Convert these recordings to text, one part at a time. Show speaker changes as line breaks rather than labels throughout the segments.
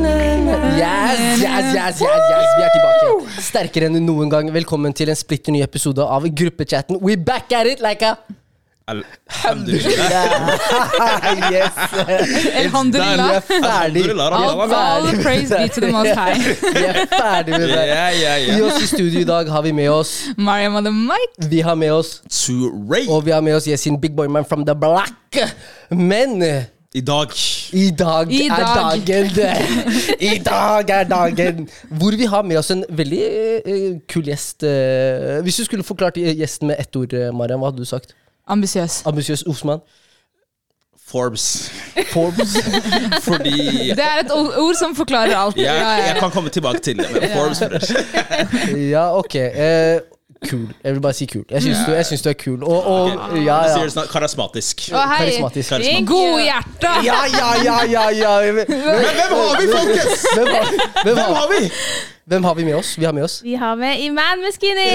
Yes, yes, yes, yes, yes, vi er tilbake. Sterkere enn noen gang. Velkommen til en splitter ny episode av Gruppechatten. We back at it like a
Alhamdulillah.
Yes. Vi
Elhamdulillah.
er ferdig.
Alhamdulillah,
Vi
Alhamdulillah.
er ferdig.
All praise be to the most high.
Vi er ferdig med det.
Ja, ja,
I
ja.
oss i studio i dag har vi med oss
Mariam on the mic.
Vi har med oss
To Ray.
Og vi har med oss Yesin Big Boy Man from the Black. Men eh,
I dag
i dag
I
er
dag.
dagen det. I dag er dagen hvor vi har med oss en veldig eh, kul gjest. eh. hvis du skulle forklart eh, gjesten med ett ord, eh, Mariam, hva hadde du sagt?
Ambisiøs.
Ambisiøs Osman?
Forbes.
Forbes?
Fordi
Det er et o- ord som forklarer alt.
jeg, jeg
Ja,
kan komme tilbake til det. Men Forbes først.
Ja, ok. eh, kul. Jeg vil bare si kul. Jeg syns du, jeg syns du er kul. Og, og ja,
Jeg
ja.
sier det sånn. snart, Karismatisk.
Og hei.
Karismatisk.
Karismatisk.
Godhjerta!
Ja, ja, ja, ja, ja. Hvem,
Men hvem har vi, folkens?
hvem, har- hvem,
Hvem
har-
har vi?
hvem har vi med oss? Vi har med oss
Vi har med Iman Muskini!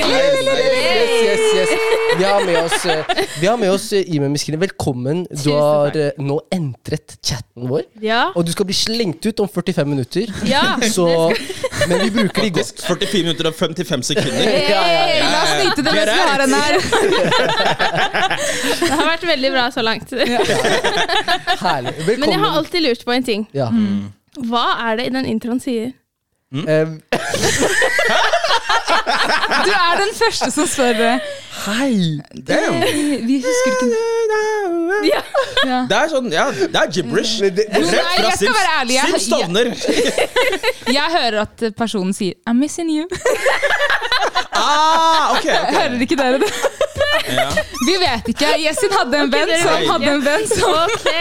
Yes, yes, yes, yes, yes. Vi har med oss, eh, vi har med oss eh, Ime Miskine. Velkommen. Du
Tusen
har
takk.
eh, nå entret chatten vår.
Ja.
Og du skal bli slengt ut om 45 minutter.
ja.
Så, men vi bruker de godt.
44 minutter og 55 sekunder.
Ja, ja,
Hey,
ja.
La oss nyte det
Get
mens vi
out.
har den her.
Det har vært veldig bra så langt.
Herlig.
Men jeg har
Velkommen.
alltid lurt på en ting.
Ja.
Mm.
Hva er det den introen sier?
Eh,
Du er den første som spør. eh,
Hei!
Vi husker ikke
Ja.
ja.
Det er sånn, ja, det er gibberish.
Men det-
Rett
Nei,
fra
jeg skal
Sims.
være ærlig, jeg-
Sims Stovner.
Jeg hører at eh, personen sier 'I'm missing you'.
Ah, ok, ok.
Hører ikke dere det?
Ja.
Vi vet ikke. Yesin hadde en venn
dere
som
vet
hadde en venn som,
Ok.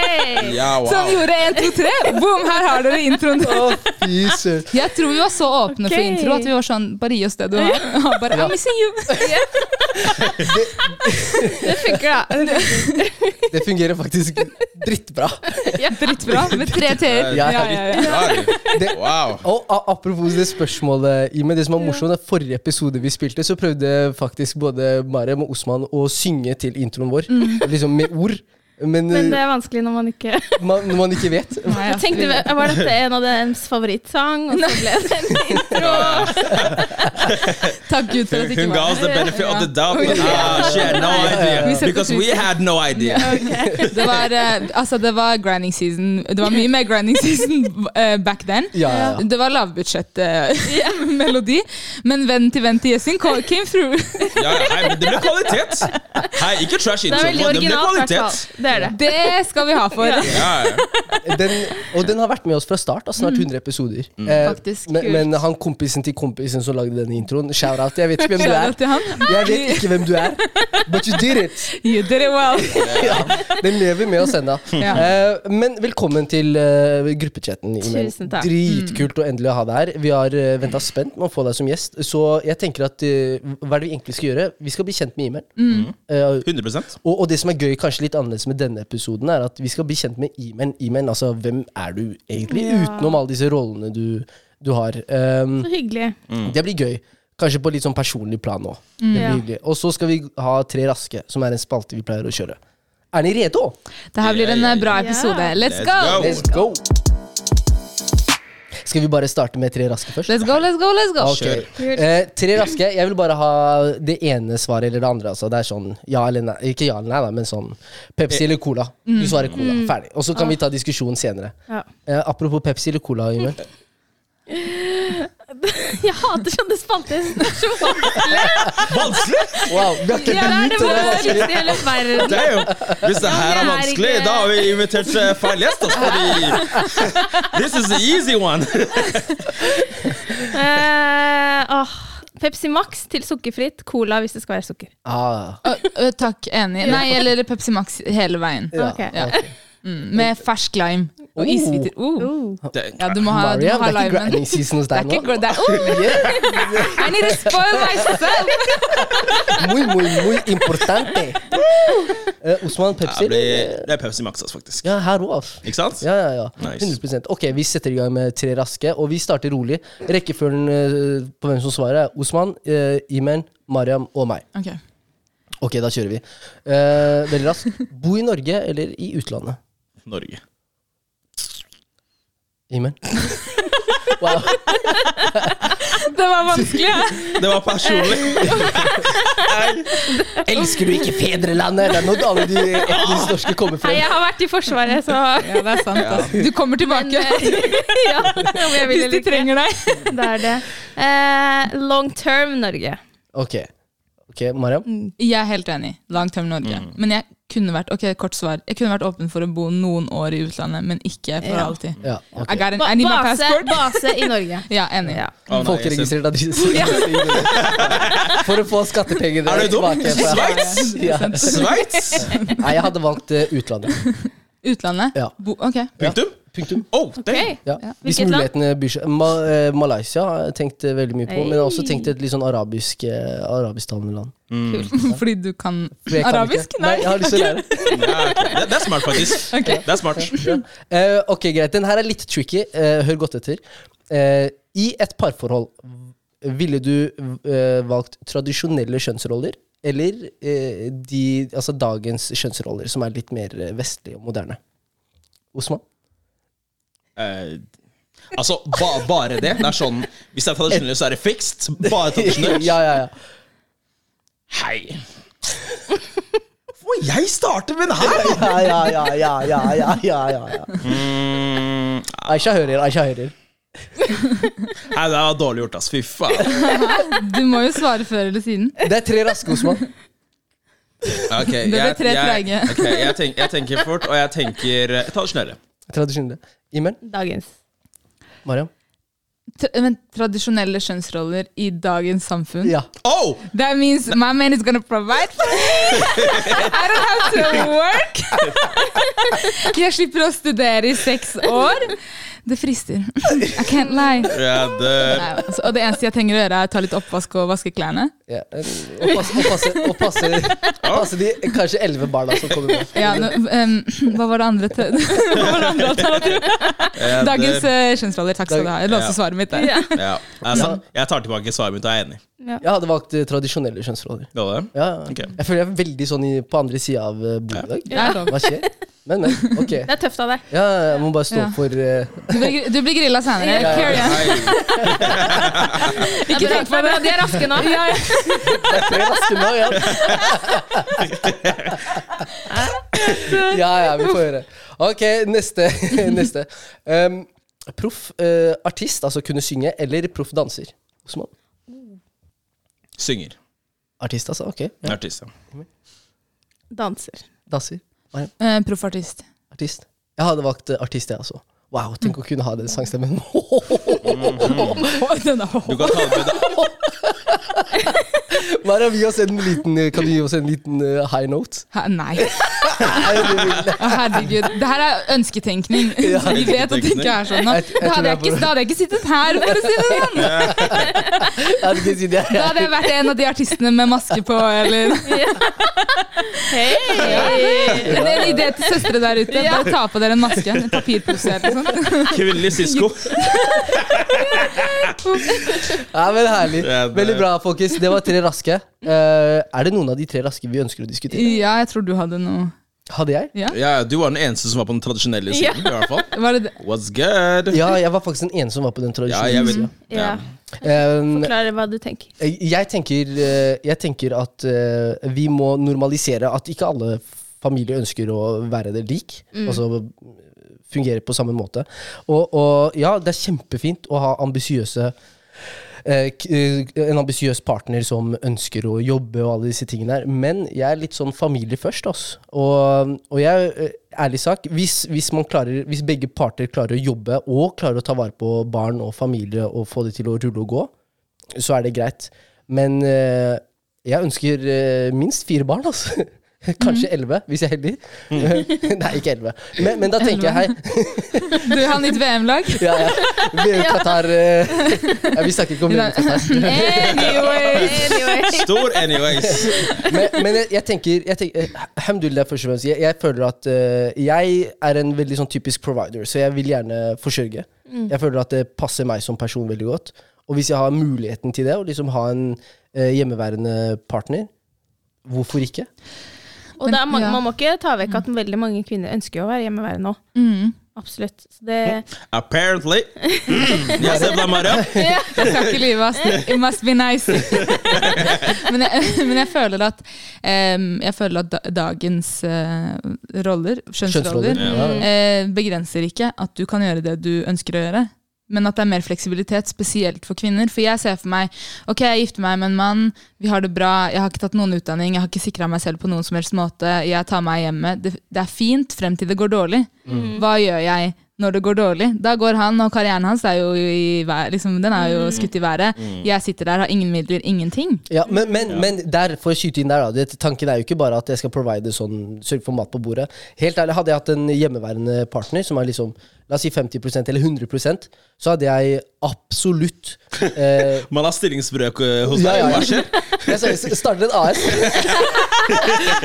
Ja, wow.
som Sånn gjorde 1, 2, 3. Boom, her har dere introen.
Å, fy søren.
Jeg tror vi var så åpne for
Ok.
intro at vi var sånn Bare gi oss det du har. Og Bare,
Ja.
I'm missing you.
Det funker, da.
Det fungerer faktisk drittbra.
Ja, Drittbra. Med tre t-er.
Ja,
Ja, ja, ja.
Det- Wow.
Og a- apropos det spørsmålet, Ime. Det som er morsomt, er forrige episode vi spilte, så prøvde faktisk både Mariam og Osman å synge til introen vår. Liksom med ord. Men,
Men det
eh,
er vanskelig når man ikke
man, når man ikke vet.
Nei, ja.
Jeg tenkte, Var dette en av deres favorittsang? Og så ble det en intro.
Takk Gud for at
Hun,
det ikke
hun ga
var
oss the benefit of the doubt, but
Ja.
ah, she had no
Ja, ja, ja. Vi
idea.
setter
Because we
pris på-
had no idea.
det. Var, eh, altså, det var grinding season. Det var mye mer grinding season eh, back then.
Ja, ja, ja.
Det var lavbudsjett-melodi, men venn til venn til Yesin ko- came through.
Ja, ja, hei, men det ble kvalitet! Hei, ikke trash
Det
intro,
er
men
veldig
det ble
originalt, i hvert
kvalitet.
fall. Det er det.
Det skal vi ha for.
Ja, ja.
Den, og den har vært med oss fra start. Da, snart 100 episoder. Eh,
Faktisk,
men,
kult.
men han kompisen til kompisen som lagde denne introen, shout-out. Jeg vet ikke hvem du
Shout out
er.
til han.
Jeg vet ikke hvem du er, but you did it.
You did it well.
Den lever med oss ennå.
Ja.
Eh, men velkommen til eh, gruppechatten. Imen.
Tusen takk.
Dritkult å endelig ha deg her. Vi har uh, venta spent med å få deg som gjest. Så jeg tenker at eh, hva er det vi egentlig skal gjøre? Vi skal bli kjent med Imen.
Mm.
100
og, og det som er gøy, kanskje litt annerledes med denne episoden, er at vi skal bli kjent med Imen. Imen, altså hvem er du egentlig?
Ja.
Utenom alle disse rollene du, du har. Um,
Så hyggelig.
det blir gøy. Kanskje på litt sånn personlig plan òg.
Mm. Ja.
Og så skal vi ha Tre raske, som er en spalte vi pleier å kjøre. Er dere rede?
Det her blir en eh, bra
Ja.
episode. Let's
Let's
go!
go.
Let's go! Skal vi bare starte med tre raske først?
Let's go, let's go, let's go.
Ok.
Kjør.
Eh, tre raske. Jeg vil bare ha det ene svaret eller det andre. Altså. Det er sånn ja eller nei. Ikke ja eller nei, da, men sånn Pepsi eller cola.
Mm.
Du svarer cola. Ferdig. Og så kan vi ta diskusjonen senere.
Ja.
Eh, apropos Pepsi eller cola, Ymer.
Jeg hater sånne spalter. Det er så vanskelig.
Vanskelig!
Wow, vi har ikke
Ja, det
begynt,
er det
og det er vanskelig.
vanskeligste i hele verden.
Det er jo, hvis det her er
Ja, men jeg er
vanskelig,
ikke-
da har vi invitert eh, feil gjest. Altså, fordi This is the easy one.
Eh, åh. Pepsi Max til sukkerfritt. Cola hvis det skal være sukker.
Ah,
Ø, ø, takk, enig. Nei, eller Pepsi Max hele veien.
ja.
Ok.
Ja. Mm, med fersk lime. Og isbiter. Uh.
Oh.
Det-
Ja, du må ha, du
Maria,
må ha
det er ikke
limen.
grinding season hos
Det er
deg
ikke
nå?
gr- det er, uh,
Yeah.
I need to spoil myself!
Muy, muy, muy importante. Eh, Osman, Pepsi?
Jeg
eller?
blir- Det er Pepsi Max, altså, faktisk.
Ja, her òg, altså.
Ikke sant?
Ja, ja, ja.
Nice.
100 Ok, vi setter i gang med tre raske, og vi starter rolig. Rekkefølgen eh, på hvem som svarer, er Osman, eh, Imen, Mariam og meg.
Ok.
Ok, da kjører vi. Eh, veldig raskt. Bo i Norge eller i utlandet?
Norge.
Imen. Wow.
Det var vanskelig. ja.
Det var personlig.
Elsker du ikke fedrelandet? Det er nå alle de etnisk norske kommer
Nei,
frem.
jeg har vært i Forsvaret, så
Ja, det er sant. ass. Du kommer
Men,
tilbake
eh, ja, om jeg vil
hvis de
eller ikke.
trenger deg.
Det er det. Eh, long term Norge.
Ok, ok, Mariam.
Jeg er helt enig. Long term Norge.
Mm.
Men jeg kunne vært ok, kort svar. Jeg kunne vært åpen for å bo noen år i utlandet, men ikke for
Ja.
alltid.
Ja, ok.
I, got an,
Ba
I need my
base,
passport.
base i Norge.
Ja, enig.
Ja.
Å, nei,
Folkeregistrert av de For å få skattepengene
Er du dum?
tilbake. fra-
Sveits?
Ja.
jeg ser- Sveits?
Nei, jeg hadde valgt eh, utlandet.
Utlandet?
Ja.
Bo, ok.
Punktum?
Punktum.
Oh, damn.
Ok.
Ja. Hvis
Hvilket land?
mulighetene byr seg Ma eh, Malaysia har jeg tenkt eh, veldig mye på, men jeg har også
Hey.
tenkt et litt sånn arabisk eh, arabisktalende land.
Mm.
Fordi du kan
For jeg kan
arabisk?
ikke- Nei, jeg har lyst til å lære.
Ja, ok. Det, det er smart, faktisk.
Ok.
Det er smart.
Eh, ok, greit. Den her er litt tricky. Eh, hør godt etter. Eh, I et parforhold, ville du eh, valgt tradisjonelle kjønnsroller? Eller eh, de, altså dagens kjønnsroller, som er litt mer eh, vestlige og moderne? Osman?
Eh, altså, ba, bare det. Det er sånn Hvis det er tradisjonelt, så er det fixed. Bare tradisjonelt.
ja, ja, ja.
Hei. Hvorfor må jeg starte med den her?
Ja, ja, ja, ja, ja, ja, ja, ja, ja.
Mm,
Aisha hører, Aisha hører.
nei, det var dårlig gjort, ass. Fy faen.
Du må jo svare før eller siden.
Det er tre raske, Osman.
Det
Ok,
ble tre
jeg,
treige.
ok, jeg, tenk, jeg tenker fort, og jeg tenker eh, tradisjonelle.
Tradisjonelle. Imen?
Dagens.
Mariam?
Tra men tradisjonelle kjønnsroller i dagens samfunn.
Ja.
Oh!
That means my man is gonna provide for me! I don't have to work! Jeg slipper å studere i seks år. Det frister. I can't lie.
Ja, det,
Nei, altså, og det eneste jeg trenger å gjøre, er å ta litt oppvask og vaske klærne.
ja. eh, Og passe, og passe, og passe, og passe de kanskje elleve barna som kommer nå.
Ja, nå, em, hva var det andre til? Hva var det andre alternativet?
ja,
Dagens
det,
eh, kjønnsroller. Takk skal du ha. Jeg låste svaret mitt der.
Ja.
ja, altså, Jeg tar tilbake svaret mitt, og jeg er enig.
Jeg hadde valgt eh, tradisjonelle kjønnsroller.
Det var det?
Ja, ja.
Ok.
Jeg føler jeg er veldig sånn i, på andre sida av eh, bordet i dag.
Det er lov.
Hva skjer? Men, men. Ok.
Det er tøft av deg.
Ja, jeg må bare stå
Ja.
for eh,
Du blir, du blir grilla senere.
Ja,
Carry on.
Hei.
Ikke
tenk på det.
De er raske nå.
Ja, ja.
Det er tre raske nå, ja. Ja, ja, vi får høre. Ok, neste. neste. Um, proff eh, artist, altså kunne synge, eller proff danser? Osman?
Synger.
Artist, altså. Ok. Ja.
Artist, ja.
Danser.
Danser.
Eh, Proffartist.
Artist. Jeg hadde valgt eh, artist, jeg også. Wow, tenk å kunne ha den sangstemmen.
Du kan ta det med deg.
Mara, gi oss en liten, eh, kan du gi oss en liten eh, high note?
Hæ, Nei. Å, Herregud. Det her er ønsketenkning.
Ja.
Vi vet at det ikke er sånn. Da
Jeg- jeg
Da hadde
tror jeg
jeg ikke,
bare-
da hadde jeg ikke sittet her, for å si det sånn.
Ja, det kan jeg si, det er-
Da hadde jeg vært en av de artistene med maske på, eller
Hei!
Det er en idé til søstre der ute. Bare ta på dere en maske. En papirpose eller sånn. noe sånt.
Kvinnelig sisko.
Ja, men Herlig.
Ja, det-
Veldig bra, folkens. Det var tre raske. Eh, er det noen av de tre raske vi ønsker å diskutere?
Ja, jeg tror du hadde noe.
Hadde jeg?
Ja?
Ja, du var den eneste som var på den tradisjonelle siden, i hvert fall.
Var det det?
What's good?
Ja, jeg var faktisk den ene som var på den
Ja, jeg
tradisjonen.
vet
Ja.
Eh,
Forklare hva du tenker.
jeg, tenker, eh, jeg tenker at eh, vi må normalisere at ikke alle familier ønsker å være det lik. Altså fungere på samme måte. Og, og ja, det er kjempefint å ha ambisiøse eh, k- eh, en ambisiøs partner som ønsker å jobbe og alle disse tingene der. Men jeg er litt sånn familie først, altså. Og, og jeg, eh, ærlig sak, hvis, hvis, man klarer, hvis begge parter klarer å jobbe og klarer å ta vare på barn og familie og få det til å rulle og gå, så er det greit. Men eh, jeg ønsker eh, minst fire barn, altså. Kanskje elleve, hvis jeg er heldig. Nei, ikke elleve. Men, men da tenker jeg hei.
Du har nytt VM-lag?
Ja, ja. VM Qatar eh, ja, Vi snakker ikke om VM Qatar.
Anyways.
Stor anyways.
Men, men jeg, jeg tenker, jeg tenker eh, Alhamdulillah, først og fremst. Jeg, jeg føler at eh, jeg er en veldig sånn typisk provider, så jeg vil gjerne forsørge. Jeg føler at det passer meg som person veldig godt. Og hvis jeg har muligheten til det, og liksom ha en eh, hjemmeværende partner, hvorfor ikke?
Og det er mange,
Ja.
man må ikke ta vekk at veldig mange kvinner ønsker jo å være hjemmeværende òg.
Mm.
Absolutt. Så det,
Apparently. Mm, jeg ser blant meg opp.
Jeg skal ikke lyve, ass. It must be nice. men, jeg, men jeg føler at em, Jeg føler at da- dagens eh, roller, kjønnsroller,
Kjønnsroller. Ja.
eh, begrenser ikke at du kan gjøre det du ønsker å gjøre. Men at det er mer fleksibilitet, spesielt for kvinner. For jeg ser for meg ok, jeg gifter meg med en mann, vi har det bra, jeg har ikke tatt noen utdanning, jeg har ikke sikra meg selv på noen som helst måte, jeg tar meg hjemme. Det, det er fint frem til det går dårlig.
Mm.
Hva gjør jeg når det går dårlig? Da går han, og karrieren hans er jo, i, vær- liksom, den er jo skutt i været.
Mm.
Jeg sitter der, har ingen midler, ingenting.
Ja, men, men, men der, for å skyte inn der, da. Det, tanken er jo ikke bare at jeg skal provide sånn, sørge for mat på bordet. Helt ærlig, hadde jeg hatt en hjemmeværende partner som er liksom, la oss si 50 eller 100 så hadde jeg absolutt eh,
Man har stillingsbrøk eh, hos
Ja,
deg.
ja.
Hva skjer?
Jeg sa- jeg startet et AS.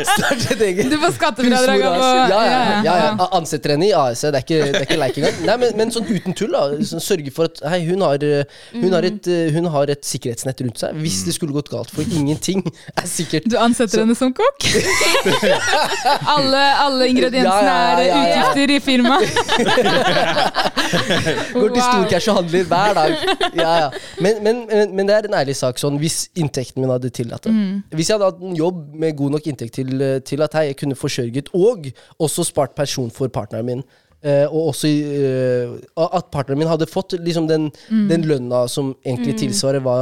startet et eget
Du får skattefradrag
husmor
av å
AS. Ja, ja, ja, ja. A- Ansette henne i AS, det er ikke, det er ikke leik engang. Nei, men, men sånn uten tull, da. Sånn, sørge for at hei, hun har, eh, hun, har et, eh, hun har et sikkerhetsnett rundt seg hvis det skulle gått galt, for ingenting er sikkert.
Du ansetter henne som kokk? alle, alle ingrediensene
Ja, ja, ja, ja,
er
ja.
utgifter i firmaet.
Går til storcash og handler hver dag. Ja, ja. Men, men, men, men det er en ærlig sak, sånn, hvis inntekten min hadde tillatt det.
Mm.
Hvis jeg hadde hatt en jobb med god nok inntekt til, til at hei, jeg kunne forsørget og også spart pensjon for partneren min, eh, og også eh, at partneren min hadde fått liksom, den,
Mm.
den lønna som egentlig tilsvarer hva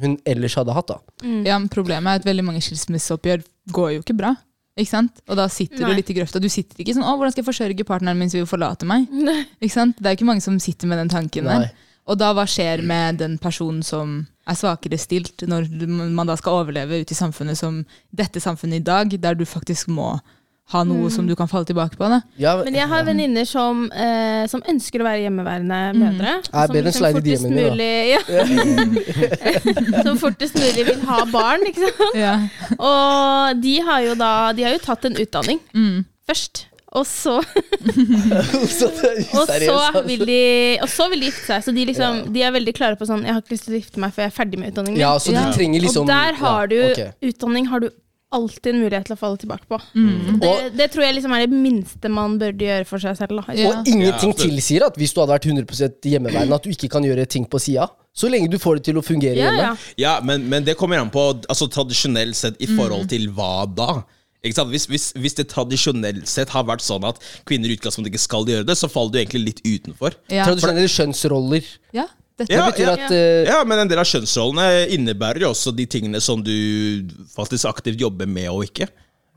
hun ellers hadde hatt. da.
Ja, men problemet er at veldig mange skilsmisseoppgjør går jo ikke bra. Ikke sant? Og da sitter
Nei.
du litt i grøfta. Du sitter ikke sånn 'Å, hvordan skal jeg forsørge partneren min som vil forlate meg?' Ikke sant? Det er jo ikke mange som sitter med den tanken
Nei.
der. Og da hva skjer med den personen som er svakere stilt, når du- man da skal overleve ute i samfunnet som dette samfunnet i dag, der du faktisk må ha
Mm.
noe som du kan falle tilbake på? Da.
Ja,
men jeg har venninner som, eh, som ønsker å være hjemmeværende
Ja,
mødre. Som
Mhm.
liksom
bedre enn slide i
fortest
DM'ene, da.
mulig ja. Som fortest mulig vil ha barn, ikke sant.
Ja.
Og de har jo da De har jo tatt en utdanning
Mm.
først. Og så,
så det-
og, så
seriøst. altså?
vil de, og så vil de gifte seg. Så de, liksom, de er veldig klare på sånn Jeg har ikke lyst til å gifte meg før jeg er ferdig med utdanningen.
Ja, så du
Ja.
trenger liksom
og der har du
ja, ok. Mm.
utdanning har du alltid en mulighet til å falle tilbake på. Det,
Og-
det tror jeg liksom er det minste man burde gjøre for seg selv. Da.
Ja.
Og ingenting
Ja, absolutt.
tilsier at hvis du hadde vært 100 hjemmeværende, at du ikke kan gjøre ting på sida. Så lenge du får det til å fungere
Ja,
hjemme.
ja.
Ja, men, men det kommer an på altså, tradisjonelt sett i
Mm.
forhold til hva da? Ikke sant? Hvis, hvis, hvis det tradisjonelt sett har vært sånn at kvinner i utgangspunktet ikke skal gjøre det, så faller du egentlig litt utenfor.
Ja.
Tradisjonelle skjønnsroller.
ja. Dette
Det
Ja,
betyr
ja.
at eh,
Ja, men en del av kjønnsrollene innebærer jo også de tingene som du faktisk aktivt jobber med og ikke.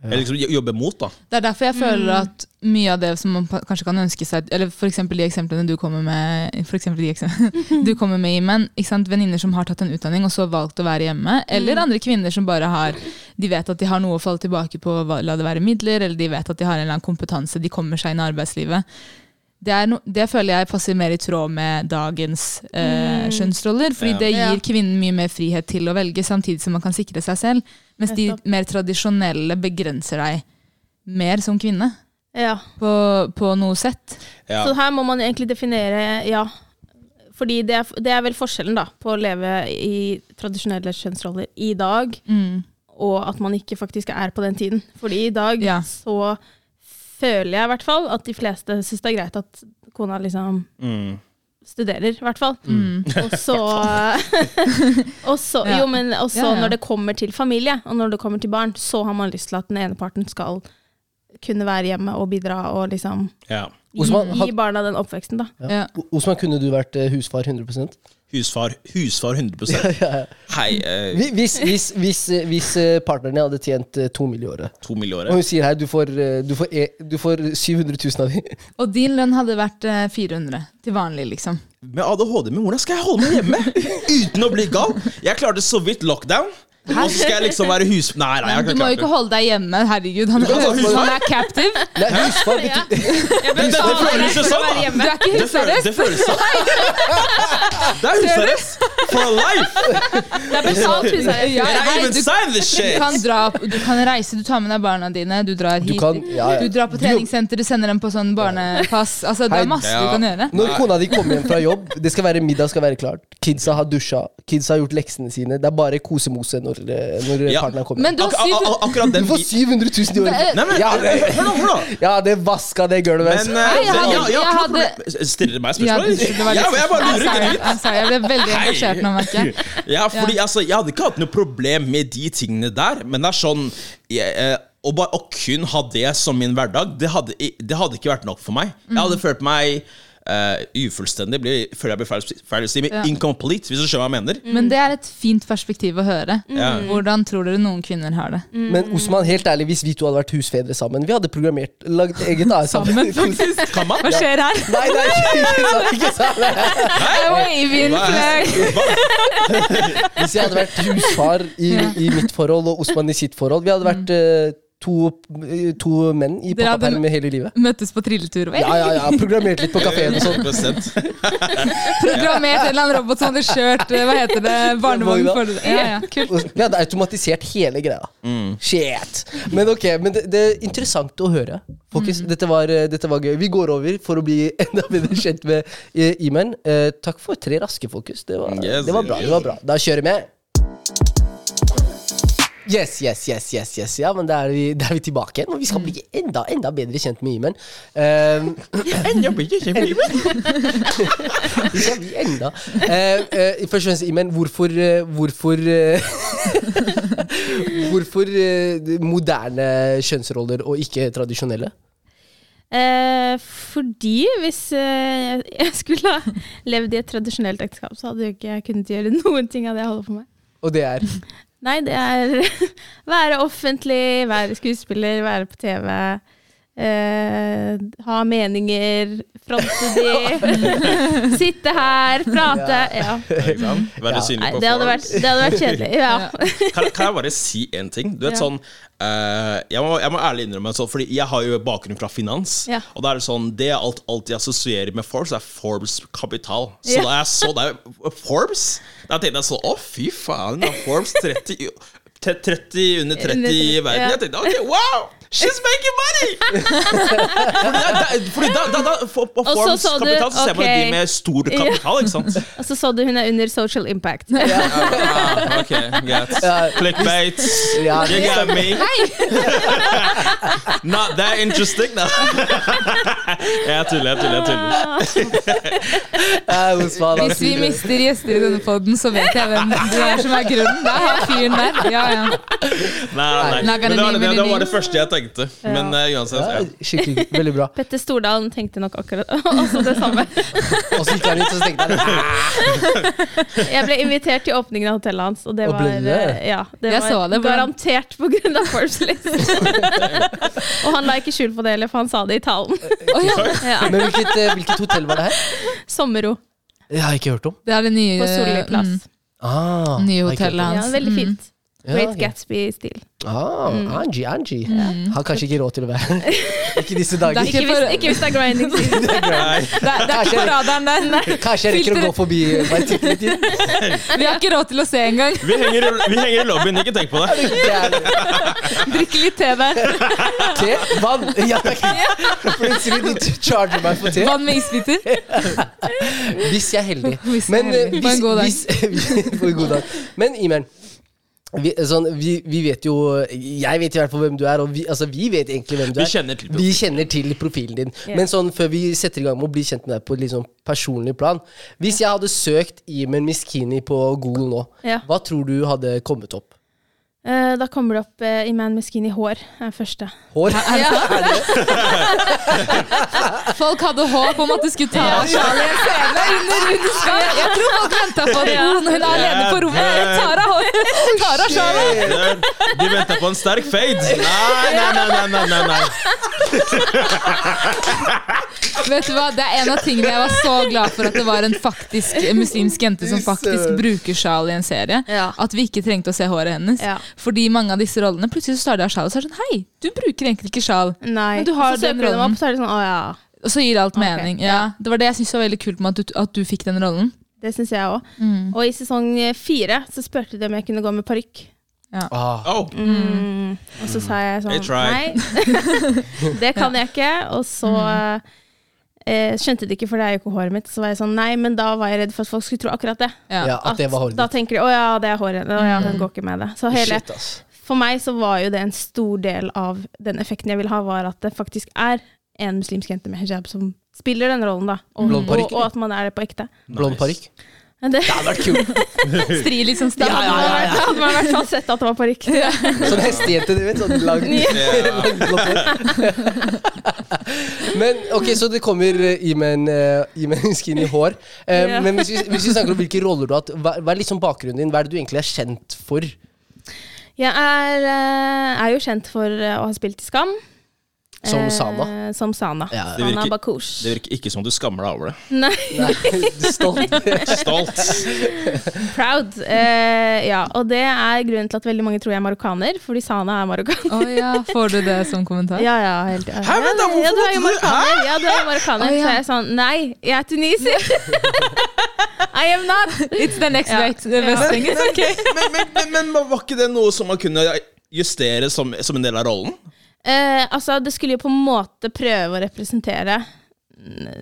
Eller liksom jo- jobber mot, da.
Det er derfor
Mm.
jeg føler at mye av det som man pa- kanskje kan ønske seg Eller for eksempel de eksemplene du kommer med For eksempel de eksemplene du kommer med i Men ikke sant, venninner som har tatt en utdanning Og så valgt å være hjemme
Mm.
Eller andre kvinner som bare har De vet at de har noe å falle tilbake på hva- La det være midler Eller de vet at de har en eller annen kompetanse De kommer seg inn i arbeidslivet det, er no, det føler jeg passer mer i tråd med dagens eh, skjønnsroller. Fordi
Ja.
det
Mm. Ja.
gir kvinnen mye mer frihet til å velge, samtidig som man kan sikre seg selv. Mens de
Nettopp.
mer tradisjonelle begrenser deg mer som kvinne
Ja.
på, på noe sett.
Ja.
Så her må man egentlig definere ja. Fordi det er, det er vel forskjellen da, på å leve i tradisjonelle kjønnsroller i dag,
Mm.
og at man ikke faktisk er på den tiden. Fordi i dag
Ja.
så føler jeg i hvert fall at de fleste syns det er greit at kona liksom
Mm.
studerer, i hvert fall. Og så, og så
Ja.
Jo, men også
Ja, ja.
når det kommer til familie, og når det kommer til barn, så har man lyst til at den ene parten skal kunne være hjemme og bidra og liksom
ja.
Osman,
Gi
had-
barna den oppveksten, da.
Ja.
O- Osman, kunne du vært eh, husfar 100
Husfar, husfar 100 Hei, eh,
Hvi- Hvis, hvis, hvis, eh, hvis eh, partneren din hadde tjent eh, to mill. i året,
to mill. i
og
året.
hun sier hei, du får, eh, du får, e- du får 700 000 av dem
Og din lønn hadde vært eh, 400 til vanlig, liksom.
Med ADHD, men hvordan skal jeg holde meg hjemme uten å bli gal? Jeg klarte så vidt lockdown. Og så skal jeg liksom være hus... Nei, nei, jeg
Du
kan
må jo ikke
ikke
holde deg hjemme. Herregud, han,
Du kan ta husarrest.
han er captive.
Nei, husfar betyr
Men dette føles jo sånn, da!
Du er ikke
Det føles,
husarrest.
det føles sånn. Det er husarrest for life!
Det er betalt husarrest.
Ja,
And I
hei,
even
du,
signed this
du,
shit!
kan dra, du kan reise, du tar med deg barna dine, du drar
Du
hit.
kan ja,
Du
ja.
drar på treningssenter, du sender dem på sånn barnepass. Altså, Det
Hei.
er masse du
Ja.
kan gjøre.
Når
Nei.
kona di kommer hjem fra jobb, det skal være middag skal være klart. Kidsa har dusja, kidsa har gjort leksene sine. Det er bare kosemose når, eh, når
Ja.
partneren kommer.
Men du har
Ak- ak-
syv
ak- akkurat
Du
den
får 700 000 i
Nei,
året.
Nei, men,
Ja,
hør
det-
nå, hør nå!
Ja, det vaska det gulvet.
Men
altså.
eh,
jeg
det- ja,
hadde-
ja,
jeg
ikke noe
hadde-
problem. Stiller dere meg
Ja,
spørsmål?
unnskyld, det var
Ja,
litt- altså,
jeg bare
I'm
lurer
sorry,
genuint.
I'm sorry, jeg ble veldig
Hei.
engasjert nå, merker jeg.
Ja, fordi Altså, jeg hadde ikke hatt noe problem med de tingene der, men det er sånn jeg, eh, å, bare, å kun ha det som min hverdag, det hadde, i- det hadde ikke vært nok for meg. Jeg hadde følt meg eh, ufullstendig, blir- føler jeg blir feil feil å si, men
Ja.
incomplete, hvis du skjønner hva jeg mener.
Men det er et fint perspektiv å høre.
Ja.
Hvordan tror dere noen kvinner har det?
Men Osman, helt ærlig, hvis vi to hadde vært husfedre sammen Vi hadde programmert, lagd eget AS
Sammen,
faktisk.
Kan man?
Hva skjer her?
Nei, nei, ikke sant, ikke sant.
Waving flag.
Hva?
Hvis jeg hadde vært husfar i, i mitt forhold og Osman i sitt forhold Vi hadde vært eh, to, eh, to menn i
Dere hadde-
pappaperm hele livet.
Møttes på trilletur.
Ja, ja, ja, programmert litt på kafeen og sånn.
100%.
Programmert en eller annen robot som hadde kjørt eh, hva heter det, barnevogn
Vogna.
for ja, ja, kult.
Og Vi hadde automatisert hele greia. Shit! Men ok, men det, det er interessant å høre. Folkens, dette, var, eh, dette var gøy. Vi går over for å bli enda bedre kjent med eh, Imen. Eh, takk for tre raske fokus. Det var,
Yes,
det var bra.
yes.
det var bra Da kjører vi. Yes, yes, yes, yes, yes. Ja, men da er vi, da er vi tilbake igjen. Og vi skal bli enda, enda bedre kjent med Imen. Eh,
Jeg blir ikke kjempe-
vi skal bli enda Eh, eh, Først og fremst, Imen, hvorfor eh, Hvorfor eh, Hvorfor eh, de moderne kjønnsroller og ikke tradisjonelle?
Eh, fordi hvis eh, jeg skulle ha levd i et tradisjonelt ekteskap, så hadde jo ikke jeg kunnet gjøre noen ting av det jeg holder på med.
Og det er
Nei, det er være offentlig, være skuespiller, være på TV. eh, ha meninger, fronte de. sitte her, prate. Ja.
Ikke sant? Være
Ja.
synlig
Nei,
på
det hadde
folk.
vært, det hadde vært kjedelig. Ja.
kan, kan jeg bare si én ting? Du vet
Ja.
sånn eh, jeg, må, jeg må ærlig innrømme sånn, Fordi jeg har jo bakgrunn fra finans.
Ja.
Og da er det sånn Det er alt, alt jeg assosierer med Forbes, er Forbes kapital. Så
Ja.
da jeg så det Forbes, da tenkte jeg sånn Å, fy faen. Da, Forbes 30 i- te- 30 under 30 i verden.
Ja.
Jeg tenkte ok, wow! She's making money! fordi da, da, fordi da, da, da for, på
så
Forbes
så du,
kapital så ser man
ok.
de med stor kapital, ikke sant?
Og så så du hun er under social impact.
Ah, ok, greit.
Ja.
Clickbait.
ja,
You
det-
got me. Not that interesting, da. jeg tuller, jeg tuller. jeg tuller
Ja, hos faen,
Hvis vi
altså.
mister gjester i denne poden, så vet jeg hvem du er som er grunnen. Det er han fyren der. Ja, ja.
Nei, nei, nei.
Nei,
Men det var det, det, var det
nei.
første jeg tenkte. Men eh, uansett.
ja,
Ja.
Skikkelig, veldig bra.
Petter Stordalen tenkte nok akkurat også det samme.
Og så gikk han ut, og så tenkte jeg "Ah,
Jeg ble invitert til åpningen av hotellet hans, og det
Og
var,
ble du det?
eh, ja, det
Jeg så
var
det, hvordan-
garantert pga. Forbes list. og han la ikke skjul på det heller, for han sa det i talen.
Å, ja.
Ja.
Men hvilket, eh, hvilket hotell var det her?
Sommerro
Jeg har ikke hørt om.
Det er det nye,
på Solli plass.
mm,
Ah,
nye
har ikke hørt om.
hotellet
Ja,
hans.
veldig
Mm.
fint.
Ja,
Great
ja.
Gatsby-stil.
Ah, Angie, Angie. Har kanskje ikke råd til å være Ikke disse dager.
Mm. Det er Ikke
Ikke, hvis,
for-
ikke hvis det er grinding season.
Nei.
Det er, det er ikke på radaren der.
Kanskje jeg rekker å gå forbi eh, bare titte litt inn.
Vi har ikke råd til å se engang.
Vi, henger, i- vi henger i lobbyen, ikke tenk på det.
Det er
Drikke litt te der.
te, vann Ja takk. Plutselig de charger meg for te.
Vann med isbiter.
Hvis jeg er heldig.
Hvis jeg er
Men,
heldig.
eh,
På en god dag.
hvis- på en god dag. Men Imern, vi, sånn, vi, vi vet jo Jeg vet i hvert fall hvem du er, og vi, altså, vi vet egentlig hvem du
Vi
er.
kjenner til profilen.
Vi kjenner til profilen din.
Ja.
Men sånn, før vi setter i gang med å bli kjent med deg på et litt sånn personlig plan Hvis jeg hadde søkt Imen Miskini på Google nå,
Ja.
hva tror du hadde kommet opp?
Eh, Da kommer det opp eh, i Man med skinny hår. er første.
Hår?
Folk hadde håp om at du skulle ta Charlie en scene under, under skam. Jeg tror folk venta på det. Hun, hun er alene på rommet. Tara, har- Tara Sara, Sara!
De venta på en sterk fade. Nei, nei, nei. nei, nei, nei, nei.
Vet du hva, Det er en av tingene jeg var så glad for at det var en faktisk muslimsk jente som faktisk bruker sjal i en serie.
Ja.
At vi ikke trengte å se håret hennes.
Ja.
Fordi mange av disse rollene plutselig så tar de av sjalet og så er det sånn Hei, du bruker egentlig ikke sjal.
Nei.
Men du har
så søker
den
du dem
rollen.
opp, så er det sånn Å ja.
Og så gir alt
Ok,
mening. Ja. Det var det jeg syntes var veldig kult med at du, at du fikk den rollen.
Det syns jeg òg.
Mm.
Og i sesong fire så spurte de om jeg kunne gå med parykk.
Ah,
Oh.
Mm. Og så sa jeg
I
sånn
tried.
Nei, det kan jeg ikke. Og så eh, skjønte de ikke, for det er jo ikke håret mitt. Så var jeg sånn Nei, men da var jeg redd for at folk skulle tro akkurat det.
Ja.
ja, at det var håret
da
ditt.
tenker de å ja, det er håret. Å, ja, den går ikke med det. Så hele,
Shit, ass.
for meg så var jo det en stor del av den effekten jeg ville ha, var at det faktisk er en muslimsk jente med hijab som spiller den rollen, da. Og,
Blond
og,
parykk.
og at man er det på ekte.
Blond parykk.
Men det,
Det hadde vært kult.
Stri litt sånn
da
stram.
hadde man i hvert fall- hadde man i hvert fall sett at det var parykk.
Sånn hestejente, du vet. Sånn lang,
Ja.
blond hår. Men ok, så det kommer eh, i med en, eh, i med en skinny hår. Eh,
Ja.
Men hvis vi, hvis vi snakker om hvilke roller du har hatt, hva, hva er liksom bakgrunnen din? Hva er det du egentlig er kjent for?
Jeg er, eh, er jo kjent for eh, å ha spilt i Skam.
Som
Eh,
Sana.
Som Sana.
Ja,
Det
Sana
virker-
Bakush.
Det virker ikke som du skammer deg over det.
Nei,
Nei, stolt.
Stolt.
proud. Eh, ja, og det er grunnen til at veldig mange tror jeg er marokkaner, fordi Sana er marokkaner.
Å ja, får du det som kommentar?
Ja, ja, helt ja.
Hæ, vent da, hvorfor
ja, du er
måtte
jo
du-
marokkaner. Ja, du er jo marokkaner.
Å, ja.
Så er jeg sånn Nei, jeg er tunisier. I am not.
It's the next
Ja.
right best thing. It's okay.
Men, men, men, men var ikke det noe som man kunne justere som, som en del av rollen?
Eh, altså, det skulle jo på en måte prøve å representere
Ah.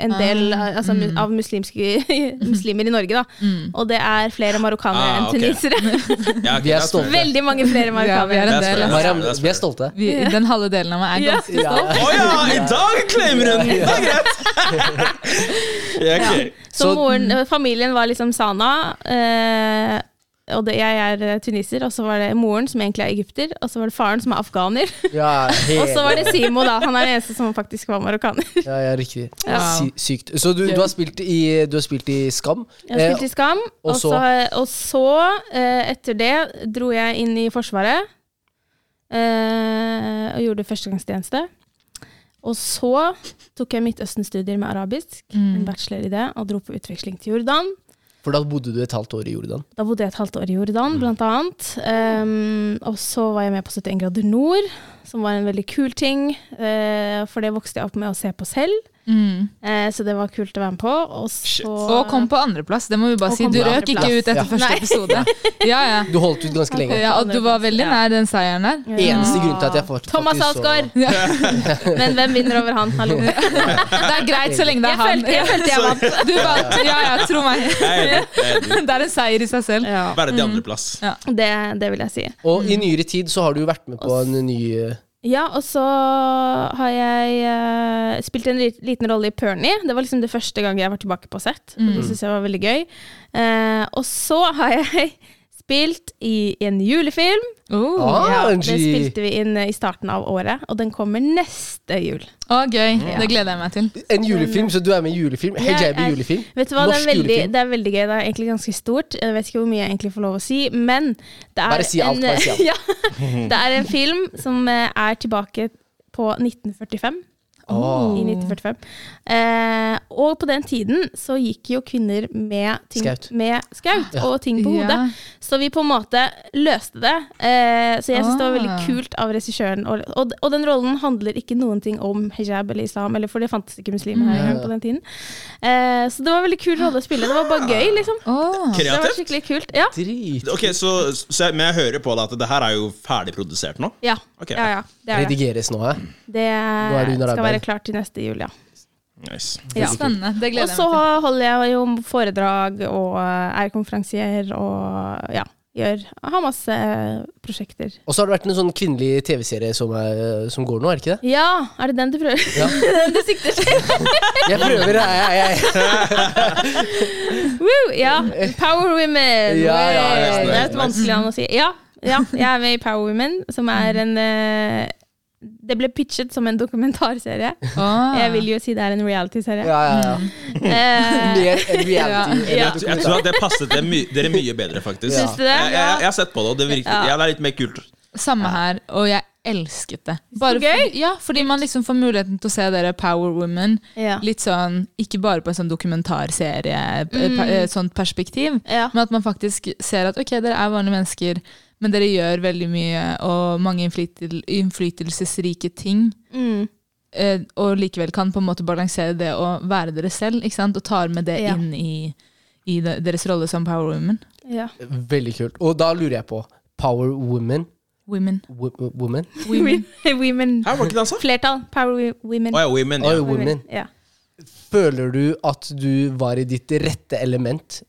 en del av- altså,
Mm.
mu- av muslimske, muslimer i Norge, da.
Mm.
Og det er flere marokkanere
Ah,
enn
ok.
tunisere.
Ja, ok,
Vi er
da spør jeg.
Veldig mange
Ja,
flere
vi er
marokkanere.
en
Det er
del. ass.
Mariam,
det er
vi er stolte.
Vi, den halve delen av meg er
Ja.
ganske stolt.
Å ja, i dag claimer hun! Det er greit. Ja, ok.
Så
Så-
moren, eh, familien var liksom Sana. Eh, og det, jeg er eh, tuniser, og så var det moren, som egentlig er egypter, og så var det faren, som er afghaner.
Ja,
Og
helt-
så var det Simo, da. Han er den eneste som faktisk var marokkaner.
Ja, ja, riktig.
Ja.
Sy sykt. Så du, du, har spilt i, du har spilt i Skam? eh,
Jeg har spilt i Skam,
og
og så, og så eh, etter det, dro jeg inn i Forsvaret. Eh, og gjorde førstegangstjeneste. Og så tok jeg Midtøsten-studier med arabisk, en bachelor i det, og dro på utveksling til Jordan.
Eh, for da bodde du et halvt år i Jordan.
Da bodde jeg et halvt år i
Mm.
Jordan, blant annet. Ehm, og så var jeg med på 71 grader nord, som var en veldig kul ting. eh, for det vokste jeg opp med å se på selv,
Mm.
eh, så det var kult å være med på. Og
Shit.
så
Og kom på andreplass, det må vi bare
Og
si.
kom
Du
på
røk ikke
andreplass.
ut etter
Ja.
første
Nei.
episode. Ja, ja.
Du holdt ut ganske lenge.
ja, Og du var veldig nær den seieren der.
Eneste grunn til at jeg fakt- faktisk
Thomas
så-
Alsgaard!
Ja.
Men hvem vinner over han? Hallo.
Det er greit så lenge det er
Jeg
han.
følte jeg, følte jeg vant.
Du vant. Ja, ja, tro meg.
Jeg er enig, jeg er enig.
Det er en seier i seg selv.
Verdig andreplass.
Det, det vil jeg si.
Og i nyere tid så har du jo vært med på en ny eh,
Ja, og så har jeg eh, spilt en lit- liten rolle i Pernie. Det var liksom det første gang jeg var tilbake på sett. og
Mm.
Det syns jeg var veldig gøy. Eh, og så har jeg spilt i en julefilm.
Oh.
ah,
Mm, det
NG.
spilte vi inn eh, i starten av året, og den kommer neste jul.
Å, gøy. Det gleder jeg meg til.
En julefilm, så du er med i julefilm? Hijabi
er-
julefilm?
Vet du hva, det
Norsk
er, veldig,
julefilm.
det er veldig gøy. Det er egentlig ganske stort. Jeg vet ikke hvor mye jeg egentlig får lov å si, men det er
Bare si alt,
en,
bare si alt.
Ja, det er en film som eh, er tilbake på 1945.
Åh.
I 1945. Eh, og på den tiden så gikk jo kvinner med ting,
Skaut.
med skaut og ting på
Ja.
hodet. Så vi på en måte løste det. Eh, så jeg syns det var veldig
Ah.
kult av regissøren. Og, og, og den rollen handler ikke noen ting om hijab eller islam, eller for det fantes ikke muslimer her på den tiden. Eh, så det var en veldig kul rolle å spille. Det var bare gøy, liksom.
Å.
Det var
Kreativt.
skikkelig kult. Ja.
Drit.
Ok, så, så jeg, Men jeg hører på deg at det her er jo ferdig produsert nå?
Ja.
Ok.
ja, ja. Det, er det.
Redigeres nå, hæ?
det
er du under
skal
arbeid.
være klart til neste jul, ja.
Nice.
ja.
Spennende. Det
Og
gleder
så
jeg meg til.
holder jeg jo foredrag og er konferansier og ja, gjør, har masse prosjekter.
Og så har det vært en sånn kvinnelig TV-serie som, er- eh, som går nå, er det ikke det?
Ja, er det den du prøver?
Ja.
den du sikter til?
Jeg prøver, jeg, jeg, jeg.
Woo, ja, Power
Ja,
Women!
ja,
Woo!
ja, ja,
det er
ja,
et vanskelig navn å si. Ja, ja, jeg er med i Power Women, som er en eh, Det ble pitchet som en dokumentarserie.
Ah.
Jeg vil jo si det er en reality-serie.
Ja, ja, ja.
Eh,
Mm. Mer enn reality.
Ja.
eller
Jeg, jeg tror at det passet dere, my dere mye bedre, faktisk.
Syns du det?
Jeg, jeg, jeg har sett på det, og det virker
Ja.
ja, det er litt mer kult.
Samme her, og jeg elsket det. Bare
gøy.
fordi- ja, fordi man liksom får muligheten til å se dere Power Women
Ja.
litt sånn, ikke bare på en sånn dokumentarserie, p-
Mm.
pa- eh, sånt perspektiv,
Ja.
men at man faktisk ser at ok, dere er vanlige mennesker, men dere gjør veldig mye og mange innflytel innflytelsesrike ting.
Mm.
eh, Og likevel kan på en måte balansere det og være dere selv, ikke sant? og tar med det
Ja.
inn i, i de- deres rolle som Power Women.
Ja.
Veldig kult. Og da lurer jeg på Power women?
Women.
Wo- wo- women?
Women.
Women.
Her var ikke det han sa?
Flertall. Power wi- women.
Å ja, women.
Oi,
Ja.
women.
Ja.
Føler du at du var i ditt rette element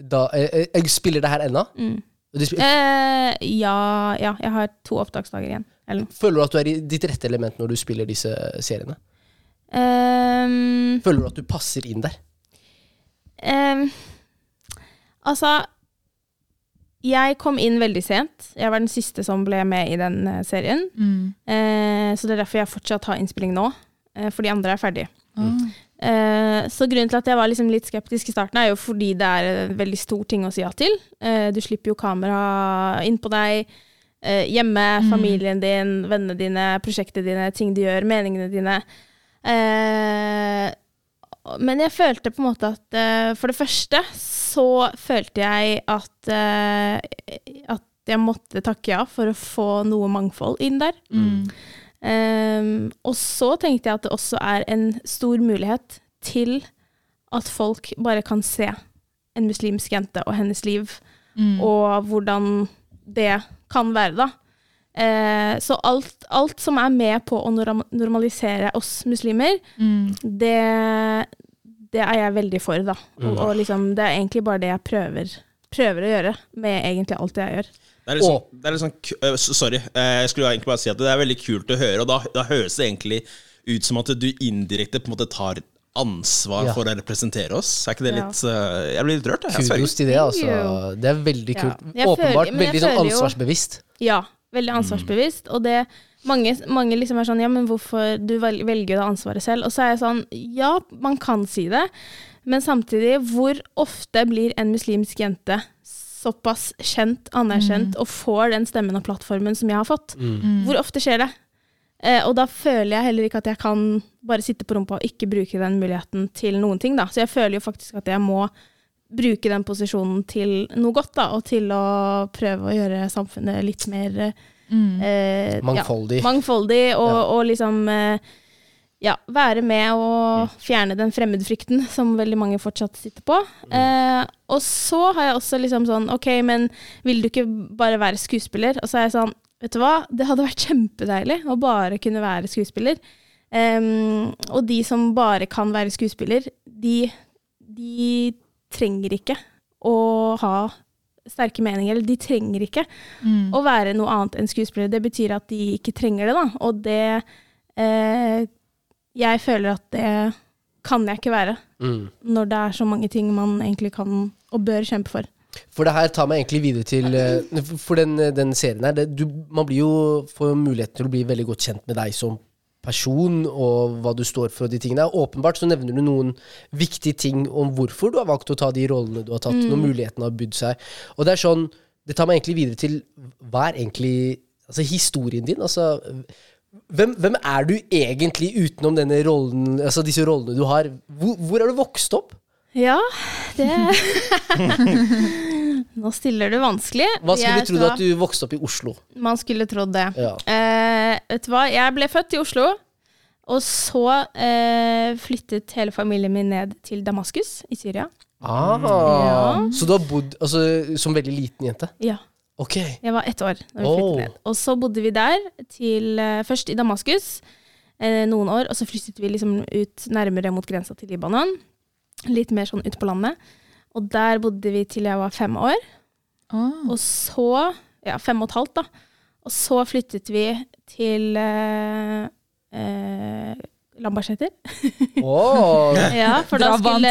da eh, eh, Spiller det her ennå?
Mm.
Du sp-
Eh, ja, ja, jeg har to opptaksdager igjen. Eller noe.
Føler du at du er i ditt rette element når du spiller disse seriene?
Ehm,
Føler du at du passer inn der?
ehm, altså Jeg kom inn veldig sent. Jeg var den siste som ble med i den eh, serien.
Mm.
Eh, så det er derfor jeg fortsatt har innspilling nå. eh, for de andre er ferdige.
Ah.
Eh, så grunnen til at jeg var liksom litt skeptisk i starten, er jo fordi det er en veldig stor ting å si ja til. Eh, du slipper jo kamera inn på deg. eh, hjemme, familien din, vennene dine, prosjektene dine, ting du gjør, meningene dine. Eh, men jeg følte på en måte at eh, For det første så følte jeg at, eh, at jeg måtte takke ja for å få noe mangfold inn der.
Mm.
Ehm, og så tenkte jeg at det også er en stor mulighet til at folk bare kan se en muslimsk jente og hennes liv,
Mm.
og hvordan det kan være, da. Eh, så alt, alt som er med på å norm- normalisere oss muslimer,
Mm.
det, det er jeg veldig for, da. Og, og liksom, det er egentlig bare det jeg prøver, prøver å gjøre med egentlig alt jeg gjør.
Det er litt sånn, det er litt sånn k- øh, s- Sorry, eh, jeg skulle egentlig bare si at det er veldig kult å høre, og da, da høres det egentlig ut som at du indirekte på en måte tar ansvar
Ja.
for å representere oss. Er ikke det
Ja.
litt øh, Jeg blir litt rørt, jeg. jeg. sverger.
Kudos til det, altså.
you.
Det er veldig
Ja.
kult.
Jeg føler-
Åpenbart
men jeg
veldig sånn
føler jo-
ansvarsbevisst.
Ja, veldig ansvarsbevisst. Og det, mange, mange liksom er sånn Ja, men hvorfor Du vel- velger jo da ansvaret selv. Og så er jeg sånn Ja, man kan si det, men samtidig, hvor ofte blir en muslimsk jente såpass kjent, anerkjent, og får den stemmen og plattformen som jeg har fått? Hvor ofte skjer det? Eh, og da føler jeg heller ikke at jeg kan bare sitte på rumpa og ikke bruke den muligheten til noen ting, da. Så jeg føler jo faktisk at jeg må bruke den posisjonen til noe godt, da, og til å prøve å gjøre samfunnet litt mer eh,
Mangfoldig.
Ja, mangfoldig og,
Ja.
og liksom eh, ja, være med
Mm.
og fjerne den fremmedfrykten som veldig mange fortsatt sitter på.
Mm.
Eh, og så har jeg også liksom sånn Ok, men vil du ikke bare være skuespiller? Og så er jeg sånn Vet du hva, det hadde vært kjempedeilig å bare kunne være skuespiller. Em, og de som bare kan være skuespiller, de, de trenger ikke å ha sterke meninger. Eller de trenger ikke
Mm.
å være noe annet enn skuespillere. Det betyr at de ikke trenger det, da. Og det eh, Jeg føler at det kan jeg ikke være.
Mm.
Når det er så mange ting man egentlig kan og bør kjempe for.
For det her tar meg egentlig videre til eh, For den, den serien her det, du, Man blir jo, får jo muligheten til å bli veldig godt kjent med deg som person, og hva du står for og de tingene. Åpenbart så nevner du noen viktige ting om hvorfor du har valgt å ta de rollene du har tatt,
Mm.
når muligheten har budd seg. Og det er sånn Det tar meg egentlig videre til Hva er egentlig altså, historien din? Altså hvem, hvem er du egentlig utenom denne rollen, altså disse rollene du har? Hvor, hvor er du vokst opp?
Ja, det Nå stiller du vanskelig.
Hva skulle
Jeg
du trodd
sa-
at du vokste opp i Oslo?
Man skulle trodd det.
Ja.
Eh, vet du hva, jeg ble født i Oslo, og så eh, flyttet hele familien min ned til Damaskus i Syria.
Ah, Så du har bodd altså, som veldig liten jente?
Ja,
Ok.
jeg var ett år da vi flyttet
Oh.
ned. Og så bodde vi der til, eh, først i Damaskus eh, noen år, og så flyttet vi liksom ut nærmere mot grensa til Libanon. Litt mer sånn ut på landet. Og der bodde vi til jeg var fem år.
Ah.
Og så Ja, fem og et halvt, da. Og så flyttet vi til eh, eh, Lambertseter.
Åh,
Ja, for da
Da vant